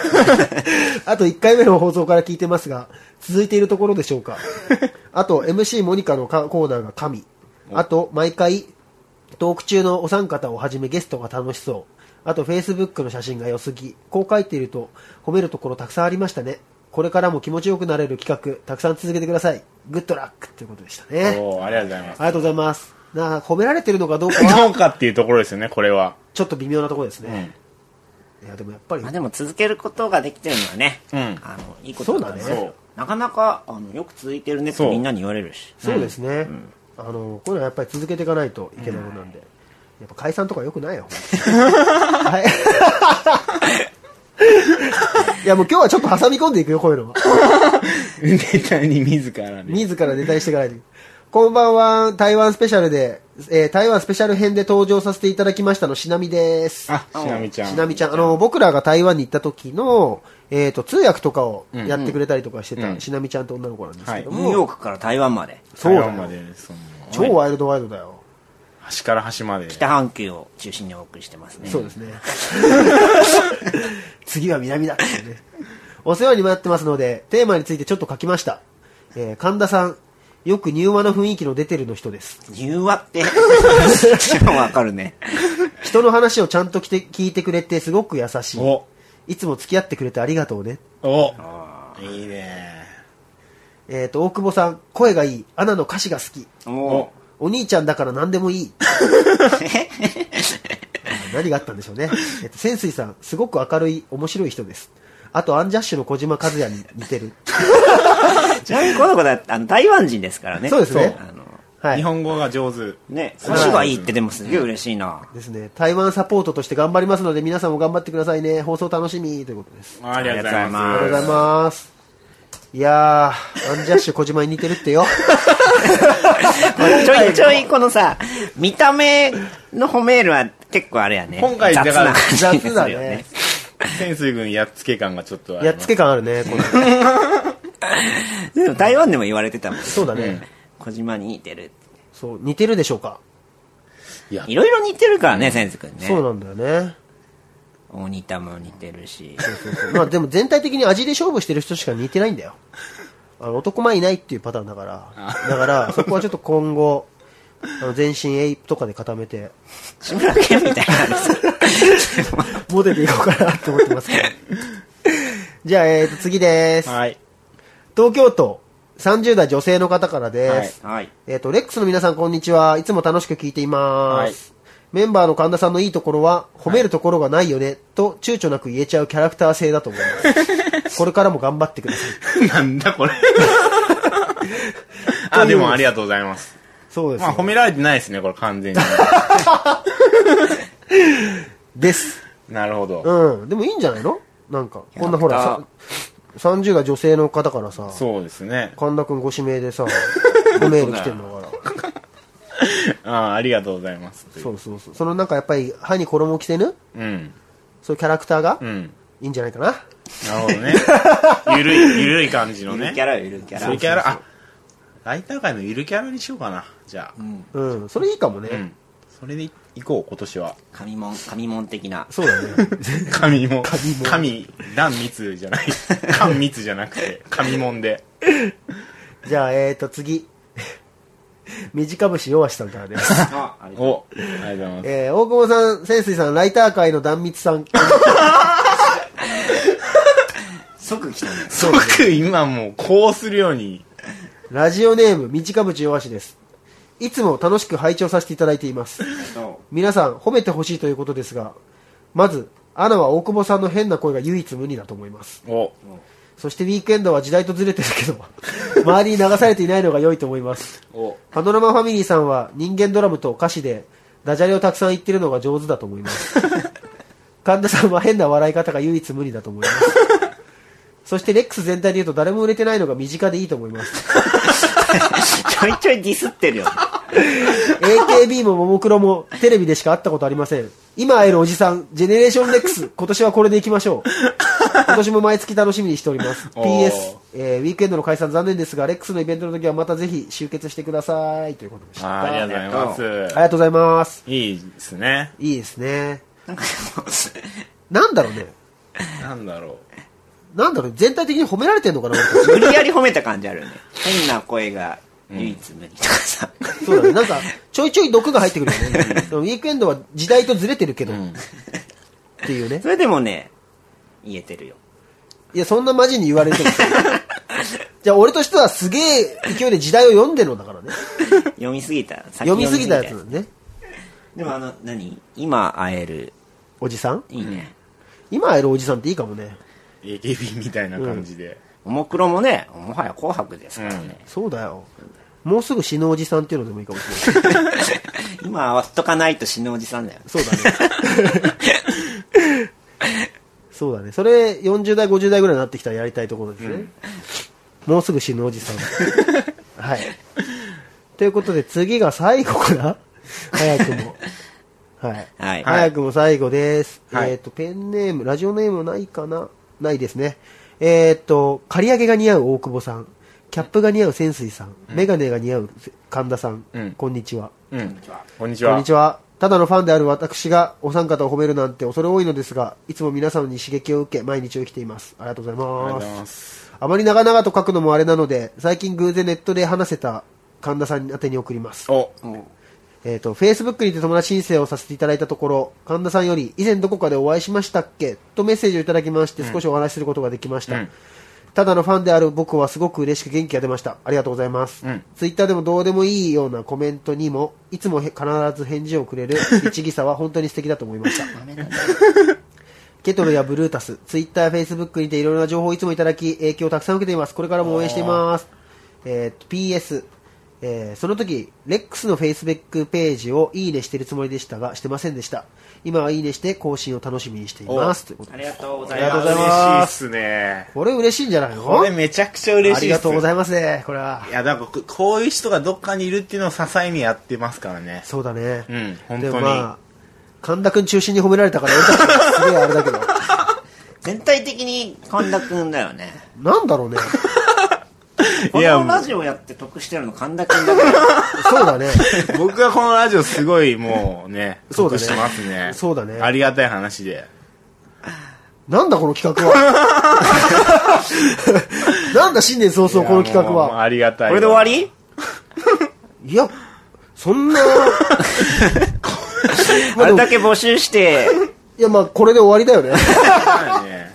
Speaker 1: あと1回目の放送から聞いてますが、続いているところでしょうか。あと MC モニカのかコーナーが神。あと毎回トーク中のお三方をはじめゲストが楽しそう。あと Facebook の写真が良すぎ。こう書いていると褒めるところたくさんありましたね。これからも気持ちよくなれる企画、たくさん続けてください。グッドラックということでしたね。
Speaker 3: おーありがとうございま
Speaker 1: あ。
Speaker 3: す
Speaker 1: りがとうございます。なあ褒められてるのかどうか
Speaker 3: ど
Speaker 1: は
Speaker 3: うかっていうところですよね、これは。
Speaker 1: ちょっと微妙なところですね。いや、でもやっぱ り
Speaker 2: まあ、でも続けることができてるのはね、
Speaker 3: うん
Speaker 2: あのいいことと思いますよ
Speaker 1: そうだ
Speaker 3: ね
Speaker 2: なかなかあのよく続いてるねっ
Speaker 3: そ
Speaker 2: て
Speaker 3: う
Speaker 2: みんなに言われるし。
Speaker 1: そうですね。あの、こういうのはやっぱり続けていかないといけないものなんで。やっぱ解散とかよくないよ。 はい。いや、もう今日はちょっと挟み込んでいくよ、こういうのは。
Speaker 3: ネタに自らね。
Speaker 1: 自らネタにしていかないと。こんばんは、台湾スペシャルで、えー台湾スペシャル編で登場させていただきましたのしなみです。
Speaker 3: あ、しなみちゃん。
Speaker 1: しなみちゃん、あの、僕らが台湾に行った時の、えっ、と、通訳とかをやってくれたりとかしてた、
Speaker 3: うん
Speaker 1: しなみちゃんと女の子なんですけど
Speaker 2: ニ
Speaker 1: も、
Speaker 2: ューヨークから台湾まで、
Speaker 1: そうだよ
Speaker 3: 台湾まで、その、
Speaker 1: 超ワイルドワイルドだよ。
Speaker 3: 端から端まで。
Speaker 2: 北半球を中心にお送りしてますね。
Speaker 1: そうですね。 次は南だっていうね。お世話になってますので、テーマについてちょっと書きました。えー神田さん、よく柔和の雰囲気の出てるの人です。
Speaker 2: 柔和 って、一番わかるね。
Speaker 1: 人の話をちゃんときて聞いてくれてすごく優しい。
Speaker 3: お、
Speaker 1: いつも付き合ってくれてありがとうね。
Speaker 3: お、いいね。
Speaker 1: えっ、と、大久保さん、声がいい。アナの歌詞が好き。
Speaker 2: も
Speaker 1: お兄ちゃんだから何でもいい。
Speaker 2: う、
Speaker 1: 何があったんでしょうね。えっと、潜水さん、すごく明るい、面白い人です。あと、アンジャッシュの小島和也に似てる。
Speaker 2: ちなみにこの子だあの台湾人ですからね。
Speaker 1: そうですね
Speaker 2: あの
Speaker 1: はい。
Speaker 3: 日本語が上手。
Speaker 2: ね、歌詞がいいってでもすげえ嬉しいな。
Speaker 1: ですね。台湾サポートとして頑張りますので、皆さんも頑張ってくださいね。放送楽しみということです。
Speaker 3: ありがとうござい
Speaker 1: あり
Speaker 3: ま
Speaker 1: がとうございます。いやー、アンジャッシュ小島に似てるってよ。
Speaker 2: ちょいちょいこのさ、見た目の褒めるは結構あれやね。
Speaker 3: 今回だ
Speaker 2: 雑
Speaker 3: から
Speaker 2: な感じです
Speaker 1: 雑だ
Speaker 2: よね
Speaker 1: ね。。
Speaker 3: す。潜水軍やっつけ感がちょっとあり
Speaker 1: やっ
Speaker 3: ま
Speaker 1: つ
Speaker 3: す
Speaker 1: け感あるね、これ。
Speaker 2: でも台湾でも言われてたもん。
Speaker 1: そうだね。
Speaker 2: 小島に似てる。
Speaker 1: そう、似てるでしょうか。
Speaker 2: いろいろ似てるからね、先生くんね。
Speaker 1: そうなんだよね。
Speaker 2: 大仁田も似てるし。
Speaker 1: そうそうまあでも全体的に味で勝負してる人しか似てないんだよ。あの男前いないっていうパターンだから。だから、そこはちょっと今後、あの全身エイプとかで固めて、
Speaker 2: 志村けんみたいなのさ。
Speaker 1: モデルいこうかなって思って ますけど。じゃあ、えーと、次です。
Speaker 3: はい。
Speaker 1: 東京都30代女性の方から
Speaker 3: は
Speaker 1: で
Speaker 3: い
Speaker 1: す。
Speaker 2: はい。
Speaker 1: えっ、と、レックスの皆さんこんにちは。いつも楽しく聞いています。メンバーの神田さんのいいところは、褒めるところがないよね、と躊躇なく言えちゃうキャラクター性だと思い ます。これからも頑張ってください。
Speaker 3: なんだこれ。 あ、でもありがとうございます。
Speaker 1: そうです
Speaker 3: ま
Speaker 1: よ、
Speaker 3: あ褒められてないですね、これ完全に。
Speaker 1: です。
Speaker 3: なるほど。
Speaker 1: うん。でもいいんじゃないのなんか、こんなほら、
Speaker 2: キャラ
Speaker 1: さ30代女性の方からさ、
Speaker 3: そうですね。
Speaker 1: 神田くんご指名でさ、 ごメール来てるのから。
Speaker 3: あありがとうございます。
Speaker 1: そうそうそう。そのなんかやっぱり、歯に衣を着せぬ
Speaker 3: うん。
Speaker 1: そういうキャラクターが
Speaker 3: う、ん。
Speaker 1: いいんじゃないかな。
Speaker 3: なるほどね。 ゆるい、ゆるい感じの
Speaker 2: ゆ
Speaker 3: ね
Speaker 2: るキ。ャラよゆるキャラ。
Speaker 3: そういうキャラ、あ、ライター界のゆるキャラにしようかな。じゃあ。
Speaker 1: うん。それいいかもね。
Speaker 3: うん。それで行こう、今 年は。
Speaker 2: 神門、神門的な。
Speaker 1: そうだね。
Speaker 3: 神も、神、段密じ ゃない。神密じゃなくて、神もんで。
Speaker 1: じゃあ、えーと、次。 短節弱しさんからです。
Speaker 2: あ、ありがとう
Speaker 3: お、ありがとうございます。
Speaker 1: えー大久保さん、潜水さん、ライター界の壇蜜さん。
Speaker 2: 即来たね。
Speaker 3: 即今もう、こうするように。
Speaker 1: ラジオネーム、短渕弱しです。いつも楽しく拝聴させていただいています。皆さん、褒めてほしいということですが、まず、アナは大久保さんの変な声が唯一無二だと思います。
Speaker 3: お、
Speaker 1: そして、ウィークエンドは時代とずれてるけど、 周りに流されていないのが良いと思います。
Speaker 3: お、
Speaker 1: パノラマファミリーさんは人間ドラムと歌詞でダジャレをたくさん言ってるのが上手だと思い ます。神田さんは変な笑い方が唯一無二だと思います。そしてレックス全体で言うと誰も売れてないのが身近でいいと思います。
Speaker 2: ちょいちょいディスってるよ。
Speaker 1: AKB もももクロもテレビでしか会ったことありません。今会えるおじさん、ジェネレーションレックス、今年はこれでいきましょう。今年も毎月楽しみにしております。
Speaker 3: お
Speaker 1: PS
Speaker 3: ー、
Speaker 1: えーウィークエンドの解散残念ですが、レックスのイベントの時はまたぜひ集結してください。ということでした。
Speaker 3: あありがとうござい
Speaker 1: あり
Speaker 3: ま
Speaker 1: がとうございます。
Speaker 3: す。いいですね。
Speaker 1: いいですね。
Speaker 2: なんかでも
Speaker 1: なんだろうね。
Speaker 3: なんだろ
Speaker 1: なんだろう、全体的に褒められてんのかな、俺た
Speaker 2: 無理やり褒めた感じあるよね。変な声が唯一無二とかさ。
Speaker 1: ちそうだね。なんか、ちょいちょい毒が入ってくるよね。でもウィークエンドは時代とずれてるけど、っていうね
Speaker 2: そ。れでもね、言えて るよ。
Speaker 1: いや、そんなマジに言われて も。じゃあ、俺としてはすげえ勢いで時代を読んでるのだからね。
Speaker 2: 読みすぎた。先
Speaker 1: 読みすぎたやつだね。
Speaker 2: でもあの、何今会える。
Speaker 1: おじさん
Speaker 2: いいね。
Speaker 1: 今会えるおじさんっていいかもね。
Speaker 3: う。AKB みたいな感じで。
Speaker 2: ももクロもね、もはや紅白ですからね。
Speaker 1: そうだよ。もうすぐ死ぬおじさんっていうのでもいいかもしれない。
Speaker 2: 今会わっとかないと死ぬおじさんだよ。
Speaker 1: そうだね。 そうだね。それ、40代、50代ぐらいになってきたらやりたいところですね。もうすぐ死ぬおじさん。 はい。ということで、次が最後かな早くも。はい。
Speaker 2: はい
Speaker 1: 早くも最後です。
Speaker 3: はい
Speaker 1: えっ、と、ペンネーム、ラジオネームないかなないですね。えっ、と、刈り上げが似合う大久保さん。キャップが似合う潜水さん。メガネが似合う神田さん。
Speaker 3: うん
Speaker 1: こんにちは。
Speaker 3: うん。こんにちは。
Speaker 1: こんにちは。ただのファンである私がお三方を褒めるなんて恐れ多いのですが、いつも皆さんに刺激を受け、毎日を生きています。ありがとうござい
Speaker 3: あり
Speaker 1: ま
Speaker 3: がと
Speaker 1: す。
Speaker 3: うござい
Speaker 1: あ
Speaker 3: ます。
Speaker 1: まり長々と書くのもあれなので、最近偶然ネットで話せた神田さんに宛てに送ります。
Speaker 3: お、
Speaker 1: えっ、と、Facebook にて友達申請をさせていただいたところ、神田さんより以前どこかでお会いしましたっけとメッセージをいただきまして、少しお話しすることができました。
Speaker 3: うん
Speaker 1: ただのファンである僕はすごく嬉しく元気が出ました。ありがとうございます。
Speaker 3: うん
Speaker 1: ツイッターでもどうでもいいようなコメントにも、いつもへ必ず返事をく れる一木さは本当に素敵だと思いました。ケトルやブルータス、ツイッター、フェイスブックにていろいろな情報をいつもいただき、影響をたくさん受けています。これからも応援しています。えーと PS、えーその時、レックスのフェイスブックページをいいねしてるつもりでしたが、してませんでした。今はいいねして更新を楽しみにしています。ということ
Speaker 2: あ
Speaker 1: で
Speaker 2: りがとうござ
Speaker 1: いますありがとうござい
Speaker 3: 嬉
Speaker 1: ます
Speaker 3: しいっすね。
Speaker 1: これ嬉しいんじゃないの
Speaker 3: これめちゃくちゃ嬉
Speaker 1: あ
Speaker 3: しい
Speaker 1: り
Speaker 3: っ
Speaker 1: が
Speaker 3: す。
Speaker 1: とうございますね、これは。
Speaker 3: いや、だからここういう人がどっかにいるっていうのを支えにやってますか らね。
Speaker 1: そうだね。
Speaker 3: うん本当に
Speaker 1: でもまあ、神田くん中心に褒められたから、俺たちもすげえあれだけど。
Speaker 2: 全体的に神田くんだよ ね。
Speaker 1: なんだろうね。
Speaker 2: こ
Speaker 3: いや
Speaker 2: のラジオやって得してるの神田くんだから。
Speaker 1: そうだね。
Speaker 3: 僕はこのラジオすごいもうね、
Speaker 1: そうだね
Speaker 3: 得してますね。
Speaker 1: そうだね
Speaker 3: ありがたい話で。
Speaker 1: なんだこの企画は。 なんだ新年早々この企画
Speaker 3: いやもうもう
Speaker 1: は。
Speaker 3: ありがたいわ。
Speaker 2: これで終わり
Speaker 1: いや、そん な、い
Speaker 2: あれだけ募集 して、
Speaker 1: やまあこれで終わりだよね。
Speaker 3: だね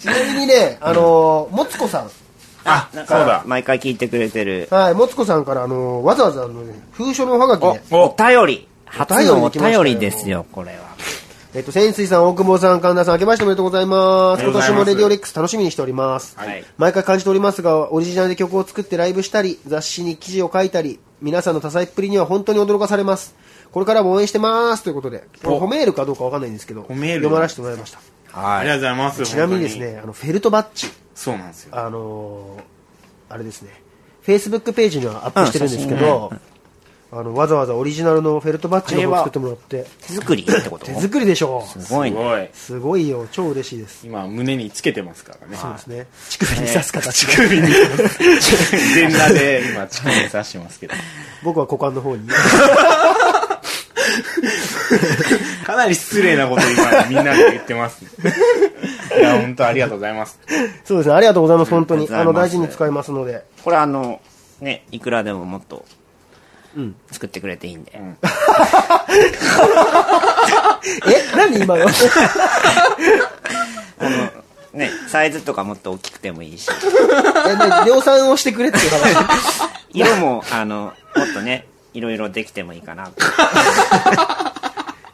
Speaker 1: ちなみにね、あのー、もつこさん。
Speaker 3: あ、そ
Speaker 2: な
Speaker 3: うん
Speaker 2: か
Speaker 3: だ。
Speaker 2: 毎回聞いてくれてる。
Speaker 1: はい、もつこさんからあのー、わざわざあのね、封書のおはがきね。
Speaker 2: お便り。初のお
Speaker 1: お便り来ましたよ
Speaker 2: 便りですよ、これは。
Speaker 1: えっと、潜水さん、大久保さん、神田さん、明けましておめでとうございます。
Speaker 3: あり
Speaker 1: 今
Speaker 3: がとうござ
Speaker 1: 年
Speaker 3: います
Speaker 1: もレディオレックス楽しみにしております。
Speaker 2: はい
Speaker 1: 毎回感じておりますが、オリジナルで曲を作ってライブしたり、雑誌に記事を書いたり、皆さんの多彩っぷりには本当に驚かされます。これからも応援してます。ということで、これ
Speaker 3: お
Speaker 1: 褒めるかどうかわかんないんですけど、
Speaker 3: 褒める
Speaker 1: 読まらせてもらいました。
Speaker 3: ありがとうございます。
Speaker 1: ちなみにです
Speaker 3: 本
Speaker 1: ね、あの、フェルトバッジ、
Speaker 3: 当に。そうなんですよ。
Speaker 1: あのーあれですね、Facebook ページにはアップしてるんですけど、あの、わざわざオリジナルのフェルトバッジの方を作ってもらって、
Speaker 2: 手作りってこと
Speaker 1: 手作りでしょう。
Speaker 2: すごい
Speaker 3: す
Speaker 2: ね。
Speaker 3: ごい。
Speaker 1: すごいよ、超嬉しいです。
Speaker 3: 今、胸につけてますからね。
Speaker 1: そうですね。乳首に刺す形。
Speaker 3: 首に。全裸で今、乳首に刺してますけど。
Speaker 1: 僕は股間の方に。
Speaker 3: かなり失礼なこと今みんなで言ってますね。 いや、本当ありがとうございます。
Speaker 1: そうですね。ありがとうございます。本当
Speaker 2: あり
Speaker 1: に。
Speaker 2: がと
Speaker 1: あ
Speaker 2: うご
Speaker 1: の、
Speaker 2: ざいま
Speaker 1: 大
Speaker 2: す
Speaker 1: 事に使いますので。
Speaker 2: これあの、ね、いくらでももっと、作ってくれていいんで。
Speaker 1: え何今の
Speaker 2: ね、サイズとかもっと大きくても いいし、
Speaker 1: え、ね、量産をしてくれっていう話。
Speaker 2: 色も、あの、もっとね、いろいろできてもいいか な。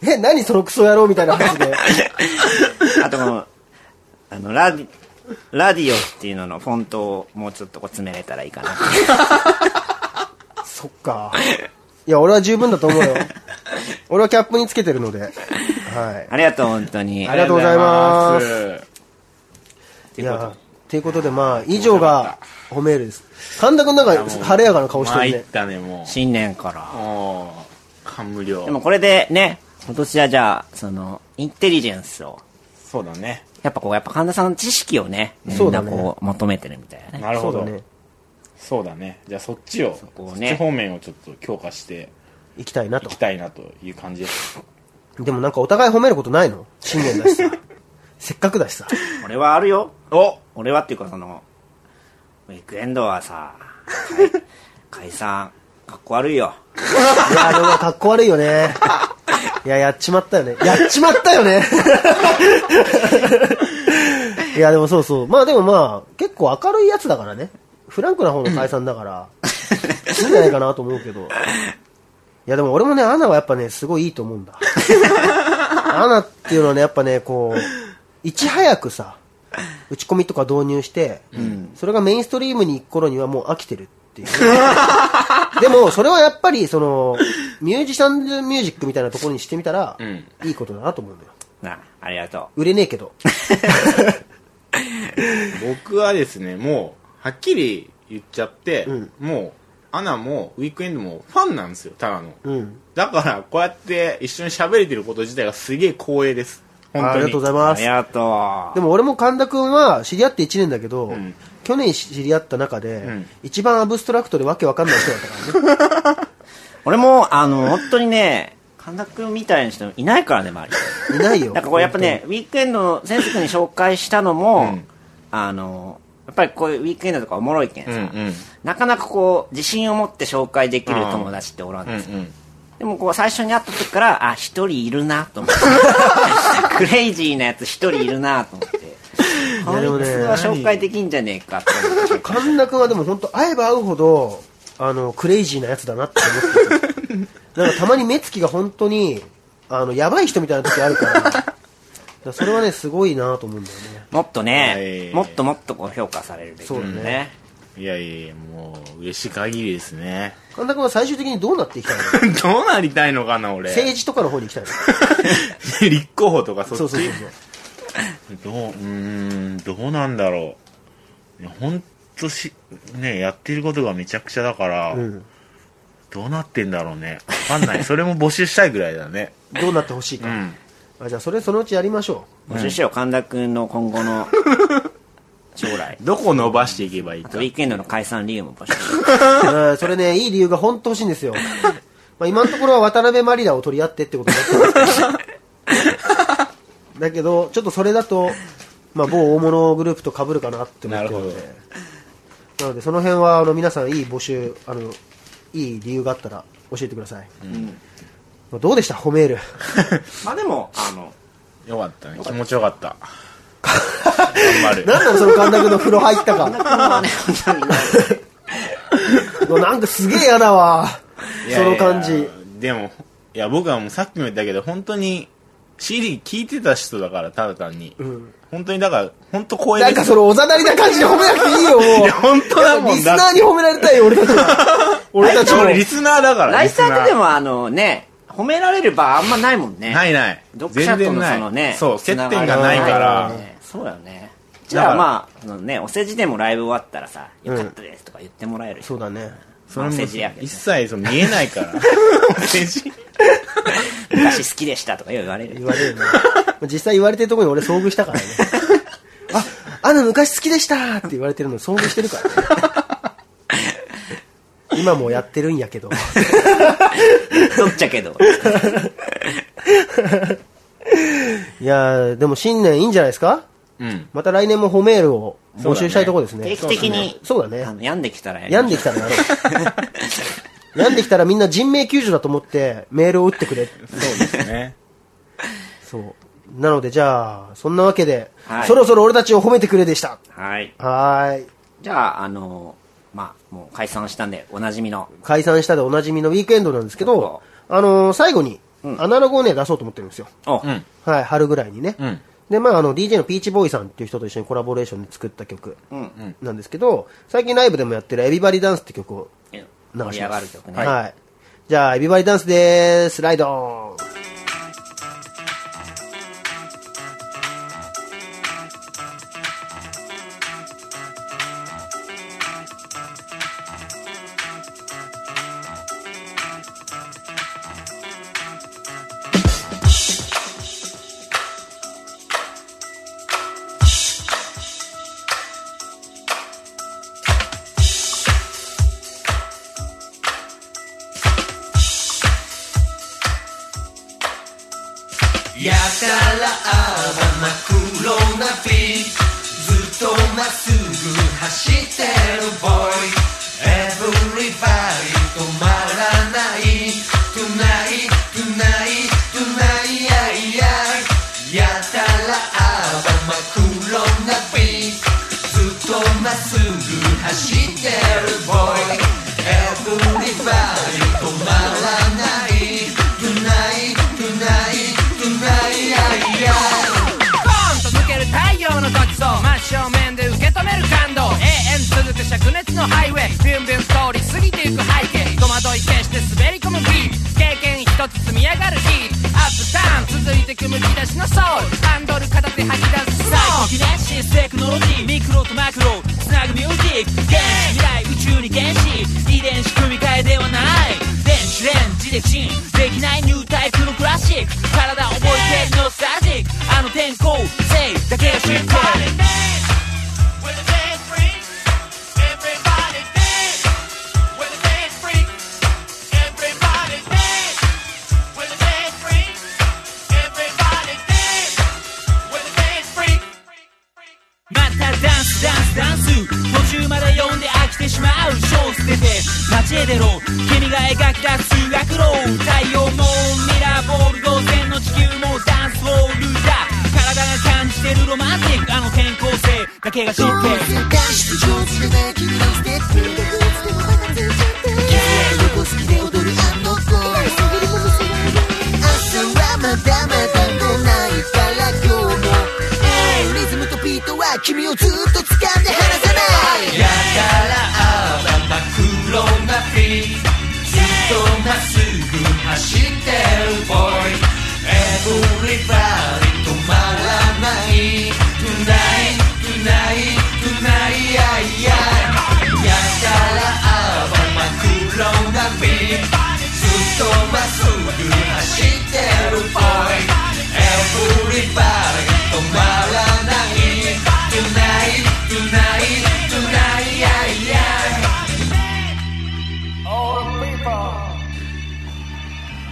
Speaker 1: え、何そのクソ野郎みたいな話で。
Speaker 2: あとこの、あの、ラディ、ラディオっていうののフォントをもうちょっとこう詰めれたらいいかな。
Speaker 1: そっか。いや、俺は十分だと思うよ。俺はキャップにつけてるので。はい。
Speaker 2: ありがとう、本当に。
Speaker 1: ありがとうございます
Speaker 3: ありがとうございます。
Speaker 1: いや、ということで、まあ、以上が褒めるです。神田君なんか 晴れやかな顔して
Speaker 3: 参
Speaker 1: る
Speaker 3: っ
Speaker 1: ね。
Speaker 3: たね、も
Speaker 2: 新年から
Speaker 3: う。。もう、感無量
Speaker 2: で。もこれでね、今年はじゃあ、その、インテリジェンスを、
Speaker 3: そうだね。
Speaker 2: やっぱこう、やっぱ神田さんの知識をね、み
Speaker 1: そうんだ
Speaker 2: な
Speaker 1: ね
Speaker 2: こう、求めてるみたいなね。
Speaker 3: なる
Speaker 1: そ
Speaker 3: ほ
Speaker 1: うだ
Speaker 3: ど。
Speaker 1: ね。
Speaker 3: そうだね。じゃあそっちを、そ
Speaker 2: こを
Speaker 3: っ
Speaker 2: ね
Speaker 3: ち方面をちょっと強化して
Speaker 1: 行きたいないと
Speaker 3: き。たいなという感 じです。
Speaker 1: でもなんかお互い褒めることないの新年だしさ。せっかくだしさ。
Speaker 2: 俺はあるよ。
Speaker 3: お
Speaker 2: 俺はっていうかその、ウィークエンドはさ、 解解散、かっこ悪いよ。
Speaker 1: いや、でもかっこ悪いよね。いや、やっちまったよね。やっちまったよね。 いや、でもそうそう。まあでもまあ、結構明るいやつだからね。フランクな方の解散だから、いいんじゃないかなと思うけど。いや、でも俺もね、アナはやっぱね、すごいいいと思うんだ。 アナっていうのはね、やっぱね、こう、いち早くさ、打ち込みとか導入して、それがメインストリームに行く頃にはもう飽きてるっていう。 でも、それはやっぱり、その、ミュージシャンズミュージックみたいなところにしてみたら、
Speaker 3: ん
Speaker 1: いいことだなと思うのよ。
Speaker 2: な、ありがと
Speaker 1: 売れねえけど。
Speaker 3: 僕はですね、もう、はっきり言っちゃって、
Speaker 1: ん
Speaker 3: もう、アナもウィークエンドもファンなんですよ、ただの。
Speaker 1: うん。
Speaker 3: だから、こうやって一緒に喋れてること自体がすげえ光栄です。本当に。
Speaker 1: ありがとうございう
Speaker 2: う。あ
Speaker 1: ま
Speaker 2: り
Speaker 1: す。
Speaker 2: がとう。
Speaker 1: でも俺も神田くんは知り合って1年だけど、
Speaker 3: ん
Speaker 1: 去年知り合った中で、
Speaker 3: ん
Speaker 1: 一番アブストラクトでわけわかんない人だったからね。
Speaker 2: 俺も、あの、本当にね、神田君みたいな人いないからね、周り。
Speaker 1: いない よ。
Speaker 2: なんかこうやっぱね、ウィークエンドの先生に紹介したのも、
Speaker 3: ん
Speaker 2: あの、やっぱりこういうウィークエンドとかおもろいけんさ、
Speaker 3: んうん。
Speaker 2: なかなかこう、自信を持って紹介できる友達っておらんですよ。
Speaker 3: うんうん。
Speaker 2: でもこう最初に会った時から、あ、一人いるなと思って。 クレイジーなやつ一人いるなと思って。こ
Speaker 1: やでも
Speaker 2: い
Speaker 1: ね
Speaker 2: つは紹介できんじゃねえかと思って。
Speaker 1: 神田くんはでも本当会えば会うほど、あの、クレイジーなやつだなって思っ てるなんかたまに目つきが本当に、あの、やばい人みたいな時あ るから、だからそれはね、すごいなと思うんだよね。
Speaker 2: もっとねも
Speaker 3: は、い
Speaker 2: っともっとこう評価されるべきだよ
Speaker 1: そうだ
Speaker 2: ね。
Speaker 3: いやいやいや、もう、嬉しい限りですね。
Speaker 1: 神田くんは最終的にどうなっていきたいの
Speaker 3: どうなりたいのかな、俺。
Speaker 1: 政治とかの方に行きたいの
Speaker 3: 立候補とかそっち
Speaker 1: そうそうそう
Speaker 3: どう、うーん、どうなんだろう。いやほんとし、ね、やってることがめちゃくちゃだから、
Speaker 1: そう、うん、
Speaker 3: どうなってんだろうね。わかんない。それも募集したいぐらいだね。
Speaker 1: どうなってほしいか、
Speaker 3: うん。
Speaker 1: あじゃあそれそのうちやりましょ
Speaker 2: 募集しよう、神田くんの今後 の将来。
Speaker 3: どこ伸ばしていけばいい
Speaker 2: あ
Speaker 3: か
Speaker 2: とウ。ィークエンドの解散理由も募集しよ
Speaker 1: う、うん、それねいい理由が本当欲しいんですよまあ今のところは渡辺マリラを取り合ってってことになってますけどだけどちょっとそれだと、まあ、某大物グループと被るかなって思ってるの
Speaker 3: な
Speaker 1: で
Speaker 3: る
Speaker 1: なのでその辺はあの皆さんいい募集あのいい理由があったら教えてください、まあどうでした褒める
Speaker 2: う。まあでも、あの、
Speaker 3: よかったね。気持ちよかった。頑張る。
Speaker 1: なんだその神田君の風呂入った か
Speaker 2: 本当に
Speaker 1: うわなんかすげえ嫌だわ。
Speaker 3: い
Speaker 1: そ
Speaker 3: やい
Speaker 1: の
Speaker 3: や
Speaker 1: 感じ。。
Speaker 3: でも、いや、僕はもうさっきも言ったけど、本当に CD 聞いてた人だから、ただ単に。本当にだから、本当光栄
Speaker 1: な
Speaker 3: で
Speaker 1: ん
Speaker 3: す。
Speaker 1: かそのおざなりな感じで褒めなくていいよ、もう。
Speaker 3: いや本当だもん
Speaker 1: リスナーに褒められたいよ、俺たち は。俺たちも。
Speaker 3: 俺リスナーだから。
Speaker 2: ライスタートで
Speaker 3: リ
Speaker 2: もあのね、褒められる場あんまないもんね。
Speaker 3: スナーないない。
Speaker 2: 読者
Speaker 3: 全
Speaker 2: との
Speaker 3: 然ない
Speaker 2: そのね、
Speaker 3: そう、
Speaker 2: つ
Speaker 3: 接点
Speaker 2: がり
Speaker 3: がないか
Speaker 2: な
Speaker 3: ら
Speaker 2: い。ねそうよね。じ
Speaker 3: だ
Speaker 2: ゃ
Speaker 3: か
Speaker 2: あ
Speaker 3: ら
Speaker 2: まあ、そのね、お世辞でもライブ終わったらさ、よかったですとか言ってもらえるし。
Speaker 1: そうだね。
Speaker 3: それ
Speaker 2: ま
Speaker 3: も
Speaker 2: あお世辞やけどね
Speaker 3: 一切そう見えな いから。お世辞
Speaker 2: 昔好きでしたとかよう言われる
Speaker 1: 言。われるね。実際言われてるところに俺遭遇したからね。あ、あの昔好きでしたって言われてるのに遭遇してる からね。今もやってるんやけど。
Speaker 2: どっちゃけど。
Speaker 1: いやーでも新年いいんじゃないですか
Speaker 3: うん。
Speaker 1: また来年も褒めールを募集したいところですね
Speaker 2: 定。期的に、
Speaker 1: そうだね
Speaker 2: あの病んできたらやりましょう
Speaker 1: 病んできたらやろう。病んできたらみんな人命救助だと思ってメールを打ってくれ。
Speaker 3: そうですね。
Speaker 1: そう。なのでじゃあ、そんなわけで、
Speaker 2: はい
Speaker 1: そろそろ俺たちを褒めてくれでした。
Speaker 2: はい。
Speaker 1: はーい。
Speaker 2: じゃあ、あのーまあ、もう解散したんで、おなじみの。
Speaker 1: 解散したでおなじみのウィークエンドなんですけど
Speaker 2: そ、
Speaker 1: あのー最後に
Speaker 2: うん
Speaker 1: アナログをね、出そうと思ってるんですよ。
Speaker 2: お、
Speaker 3: うん。
Speaker 1: はい、春ぐらいにね。
Speaker 3: うん。
Speaker 1: で、まあ、あの、DJ のピーチボーイさんっていう人と一緒にコラボレーションで作った曲
Speaker 2: うん。
Speaker 1: なんですけど、最近ライブでもやってるエビバリダンスって曲を
Speaker 2: 流し
Speaker 1: 流します。
Speaker 2: 盛り上がる曲ね。
Speaker 1: はい。じゃあ、エビバリダンスでーす。ライドーン
Speaker 5: やたらあばまくろなビーずっとまっすぐ走ってるボーイ Everybody 止まらない Tonight Tonight Tonight やいやいやたらあばまくろなビーずっとまっすぐ走ってるボーイ Everybody 止まらない Tonight Tonight Tonight やいや
Speaker 8: ポンと抜ける太陽の時そう真正面で受け止める感動永遠続く灼熱のハイウェイビュンビュン通り過ぎてゆく背景戸惑い決して滑り込むビート経験一つ積み上がるヒートアップダウン続いてくむき出しのソウルハンドル片手吐き出す最高技術システクノロジーミクロとマクロつなぐミュージック現未来宇宙に原子遺伝子組み換えではない電子レンジでチンできないニュータイプのクラシック体覚えてノスタルジックあの転校生だけが知りたい
Speaker 9: Freak.
Speaker 8: またダンスダンスダンス途中まで読んで飽きてしまう書を捨てて街へ出ろ君が描き出す通学路太陽もミラーボール同然の地球もダンスをルーだ体が感じてるロマンティックあの転校生だけが知ってる
Speaker 5: 君をずっと掴んで離さないやたらあばまくろなフィーずっとまっすぐ走ってるボーイ Everybody 止まらない Tonight Tonight Tonight やいややたらあばまくろなフィーずっとまっすぐ走ってるボーイ Everybody 止まらない Tonight Tonight Tonight やいや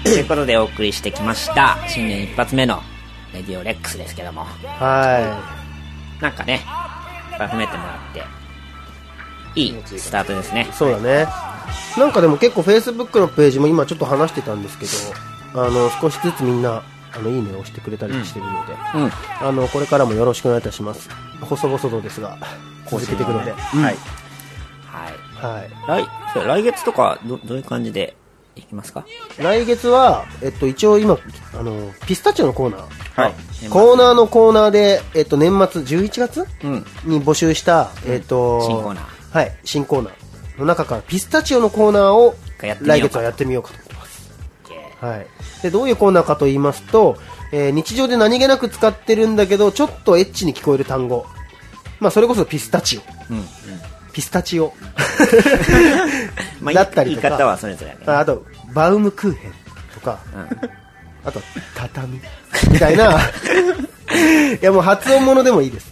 Speaker 2: ということでお送りしてきました新年一発目のレディオレックスですけども
Speaker 1: は
Speaker 2: なんかねいっぱい褒めてもらっていいスタートですね
Speaker 1: い。そうだね。なんかでも結構 Facebook のページも今ちょっと話してたんですけど、あの、少しずつみんな、あの、いいねを押してくれたりしてるので、
Speaker 2: うん
Speaker 1: あの、これからもよろしくお願いいたします。細々とですが、続けていくので。
Speaker 3: はい。
Speaker 2: はい
Speaker 1: はい。
Speaker 2: 来そう来月とかどどういう感じでいきますか
Speaker 1: 来月は、えっと、一応今、あの、ピスタチオのコーナー。
Speaker 3: はい。
Speaker 1: コーナーのコーナーで、えっと、年末、11月、
Speaker 2: うん
Speaker 1: に募集した、えっと、
Speaker 2: 新コーナー。
Speaker 1: はい、新コーナーの中から、ピスタチオのコーナーを
Speaker 2: 回やっ、てみようか
Speaker 1: 来月はやってみようかと思ってます。はい。で、どういうコーナーかと言いますと、えー日常で何気なく使ってるんだけど、ちょっとエッチに聞こえる単語。まあ、それこそピスタチオ。
Speaker 2: うん
Speaker 1: ピスタチオ。
Speaker 2: まあ
Speaker 1: だったりとか
Speaker 2: 言い方はそれぞれやけど
Speaker 1: ああと、バウムクーヘンとか、あと、畳みた いな、いやもう発音ものでもいいです。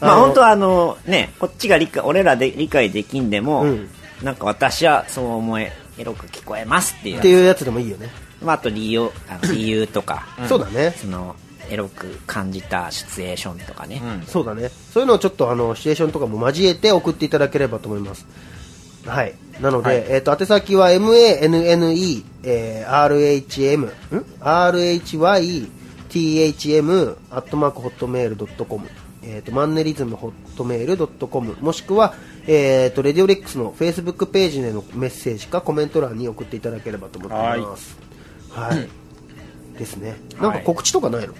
Speaker 2: まあ
Speaker 1: あの
Speaker 2: 本当はあのねこっちが理解俺らで理解できんでも、
Speaker 1: うん
Speaker 2: なんか私はそう思えエロく聞こえますっていう
Speaker 1: っていうやつでもいいよね。
Speaker 2: まあ、あと理由あ の理由とか、
Speaker 1: そうだね。
Speaker 2: そのエロく感じたシチュエーションとかね、
Speaker 1: そうだね。そういうのをちょっとあの、シチュエーションとかも交えて送っていただければと思います。はい。なので、えっ、と、宛先は manne、えー、rhm、ん ?rhythm、アットマークホットメールドットコム。えっ、と、マンネリズムホットメールドットコム。もしくは、えっ、と、レディオレックスの Facebook ページでのメッセージかコメント欄に送っていただければと思っています。はい。ですね。なんか告知とかないの、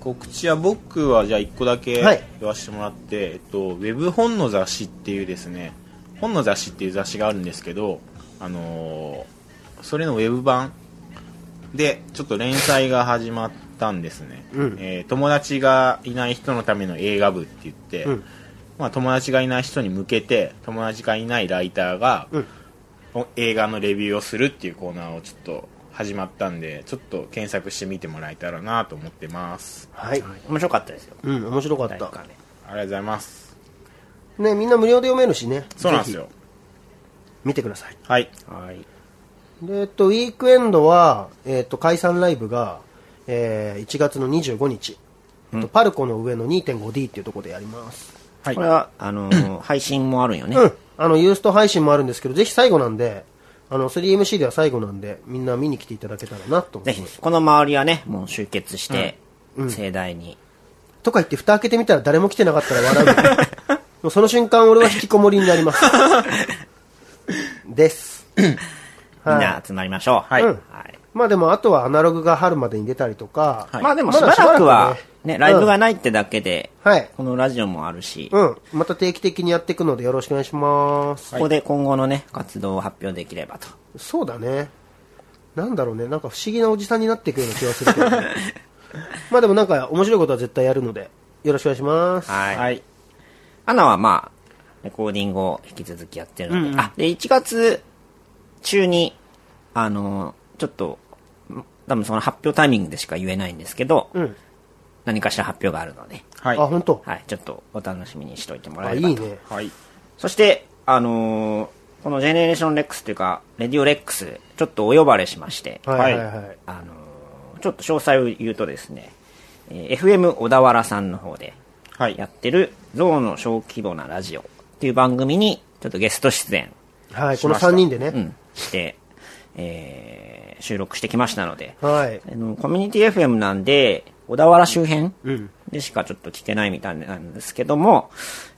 Speaker 3: 告知は僕はじゃあ1個だけ
Speaker 1: はい
Speaker 3: 言わせてもらって、えっと、ウェブ本の雑誌っていうですね本の雑誌っていう雑誌があるんですけど、あのーそれのウェブ版でちょっと連載が始まったんですね、
Speaker 1: うん
Speaker 3: えー友達がいない人のための映画部って言って、
Speaker 1: ん
Speaker 3: まあ、友達がいない人に向けて友達がいないライターが、
Speaker 1: うん
Speaker 3: お映画のレビューをするっていうコーナーをちょっと始まったんでちょっと検索してみてもらえたらなと思ってます
Speaker 1: はい。
Speaker 2: 面白かったですよ
Speaker 1: うん、面白かっ
Speaker 2: 第
Speaker 1: た
Speaker 2: 一。回目
Speaker 3: ありがとうございます。
Speaker 1: ね、みんな無料で読めるしね。
Speaker 3: そうなんですよ
Speaker 1: ぜ。ひ。見てください。
Speaker 3: はい。
Speaker 2: はい
Speaker 1: で、えっと、ウィークエンドは、えっと、解散ライブが、えー1月の25日、えっとパルコの上の 2.5D っていうところでやります。
Speaker 3: はい
Speaker 2: これはあのー配信もあるんよね、
Speaker 1: うん。あの、ユースト配信もあるんですけど、ぜひ最後なんで、あの、3MC では最後なんで、みんな見に来ていただけたらなと思
Speaker 2: ぜ
Speaker 1: い
Speaker 2: ひ
Speaker 1: ます。
Speaker 2: この周りはねもう集結して、盛大に
Speaker 1: とか言って、蓋開けてみたら誰も来てなかったら笑う。 もうその瞬間、俺は引きこもりになります。 です。
Speaker 2: みんな集まりましょう、
Speaker 3: はい
Speaker 1: うんまあでも、あとはアナログが春までに出たりとか、
Speaker 2: まあでもしばらくはねライブが
Speaker 1: ね
Speaker 2: ないってだけで、
Speaker 1: うんはい
Speaker 2: このラジオもあるし、
Speaker 1: うん、うんまた定期的にやっていくのでよろしくお願いします。
Speaker 2: ここで今後のね活動を発表できればと
Speaker 1: そうだね。なんだろうね、なんか不思議なおじさんになっていくような気がするけど、 ね、まあでもなんか面白いことは絶対やるので、よろしくお願いします。
Speaker 2: はい、
Speaker 3: はい。
Speaker 2: アナはまあレコーディングを引き続きやってるので、あで1月中にあのちょっとん多分その発表タイミングでしか言えないんですけど、
Speaker 1: うん
Speaker 2: 何かしら発表があるので、
Speaker 3: はい。
Speaker 1: あ、本当。
Speaker 2: はい、ちょっとお楽しみにしておいてもら
Speaker 1: あ、
Speaker 2: え
Speaker 1: い
Speaker 2: れ
Speaker 1: い
Speaker 2: ばと
Speaker 1: ね。
Speaker 3: はい。
Speaker 2: そして、あのーこのジェネレーションレックスというか、レディオレックス、ちょっとお呼ばれしまして、
Speaker 1: はいはいはい。
Speaker 2: あのーちょっと詳細を言うとですね、えー FM 小田原さんの方で
Speaker 3: はい
Speaker 2: やってる、象の小規模なラジオっていう番組に、ちょっとゲスト出演
Speaker 1: はい、
Speaker 2: し
Speaker 1: この
Speaker 2: ました
Speaker 1: 3人でね。
Speaker 2: うん、して、えー収録してきましたので、
Speaker 1: はい。
Speaker 2: あのコミュニティ FM なんで、小田原周辺でしかちょっと聞けないみたいなんですけども、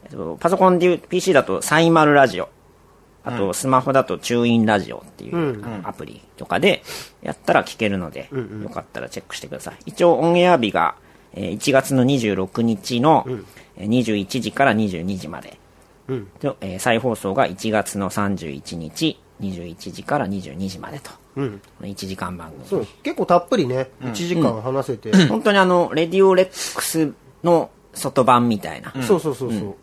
Speaker 2: えっとパソコンでいう PC だとサイマルラジオ、あとスマホだとチューインラジオっていうあのアプリとかでやったら聞けるので、よかったらチェックしてください。一応オンエア日がえー1月の26日のえー21時から22時まで。でえー再放送が1月の31日21時から22時までと。1時間番組。
Speaker 1: そう結構たっぷりね、1時間 話せて、
Speaker 2: 本当にあの、レディオレックスの外版みたいな。
Speaker 1: そうそうそうそう。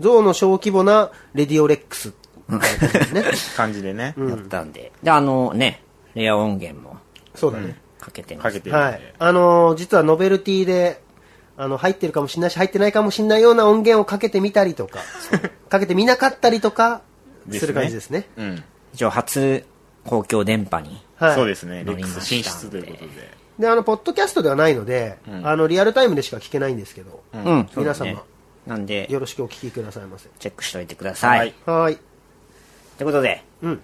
Speaker 1: 象の小規模なレディオレッ クス。ね、
Speaker 3: 感じでね。
Speaker 2: だったんで。で、あのね、レア音源も
Speaker 1: そうだね。
Speaker 2: かけてま
Speaker 3: か
Speaker 2: す
Speaker 3: け。てるんで。
Speaker 1: はい。あのー実はノベルティで、あの、入ってるかもしれないし、入ってないかもしれないような音源をかけてみたりとか、かけてみなかったりとか、
Speaker 3: ですね
Speaker 1: する感じですね。
Speaker 3: うん。
Speaker 2: 一応初公共電波に。
Speaker 1: はい。
Speaker 3: そうですね。レ
Speaker 2: 乗
Speaker 3: ッ
Speaker 2: り
Speaker 3: ク
Speaker 2: ま
Speaker 3: ス
Speaker 2: し
Speaker 3: 進
Speaker 2: た
Speaker 3: 出ということで。
Speaker 1: で、あの、ポッドキャストではないので、あの、リアルタイムでしか聞けないんですけど、
Speaker 2: うん。
Speaker 1: 皆
Speaker 2: そうですね
Speaker 1: 様、
Speaker 2: なんで、
Speaker 1: よろしくお聞きくださいませ。
Speaker 2: チェックしておいてくださ
Speaker 3: はいい。
Speaker 1: はい。
Speaker 2: ということで、
Speaker 1: うん。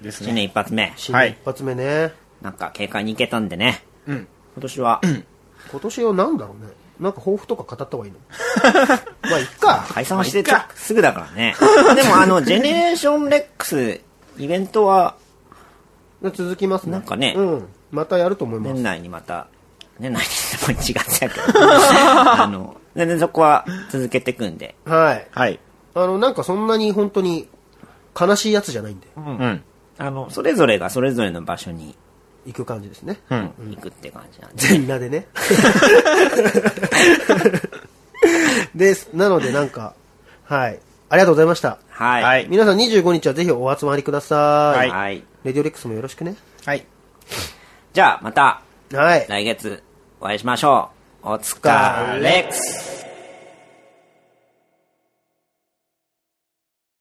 Speaker 3: です
Speaker 2: 新
Speaker 3: ね。
Speaker 2: 年一発目、
Speaker 1: 新年一発目ね。
Speaker 2: なんか警戒に行けたんでね。今年は、
Speaker 1: 今年はなんだろうね。なんか抱負とか語った 方がいいのまあ、いっか。
Speaker 2: 解散してちょすぐだからね。 でもあの、ジェネレーションレックス、イベントは
Speaker 1: 続きますね。
Speaker 2: なんかね
Speaker 1: うん。またやると思います
Speaker 2: 年。内にまた、年内にもう1月やけど、あの、全然そこは続けていくんで、
Speaker 1: はい。
Speaker 3: はい。
Speaker 1: あの、なんかそんなに本当に悲しいやつじゃないんで、
Speaker 3: うん。
Speaker 2: あの、それぞれがそれぞれの場所に
Speaker 1: 行く感じですね。
Speaker 2: 行くって感じなんで、
Speaker 1: みんな でね。です。なのでなんか、はい。ありがとうございました。
Speaker 2: はい。
Speaker 3: はい
Speaker 1: 皆さん25日はぜひお集まりください。
Speaker 2: はい。
Speaker 1: レディオレックスもよろしくね。
Speaker 3: はい。
Speaker 2: じゃあ、また
Speaker 1: はい。
Speaker 2: 来月お会いしましょう。お疲れっす。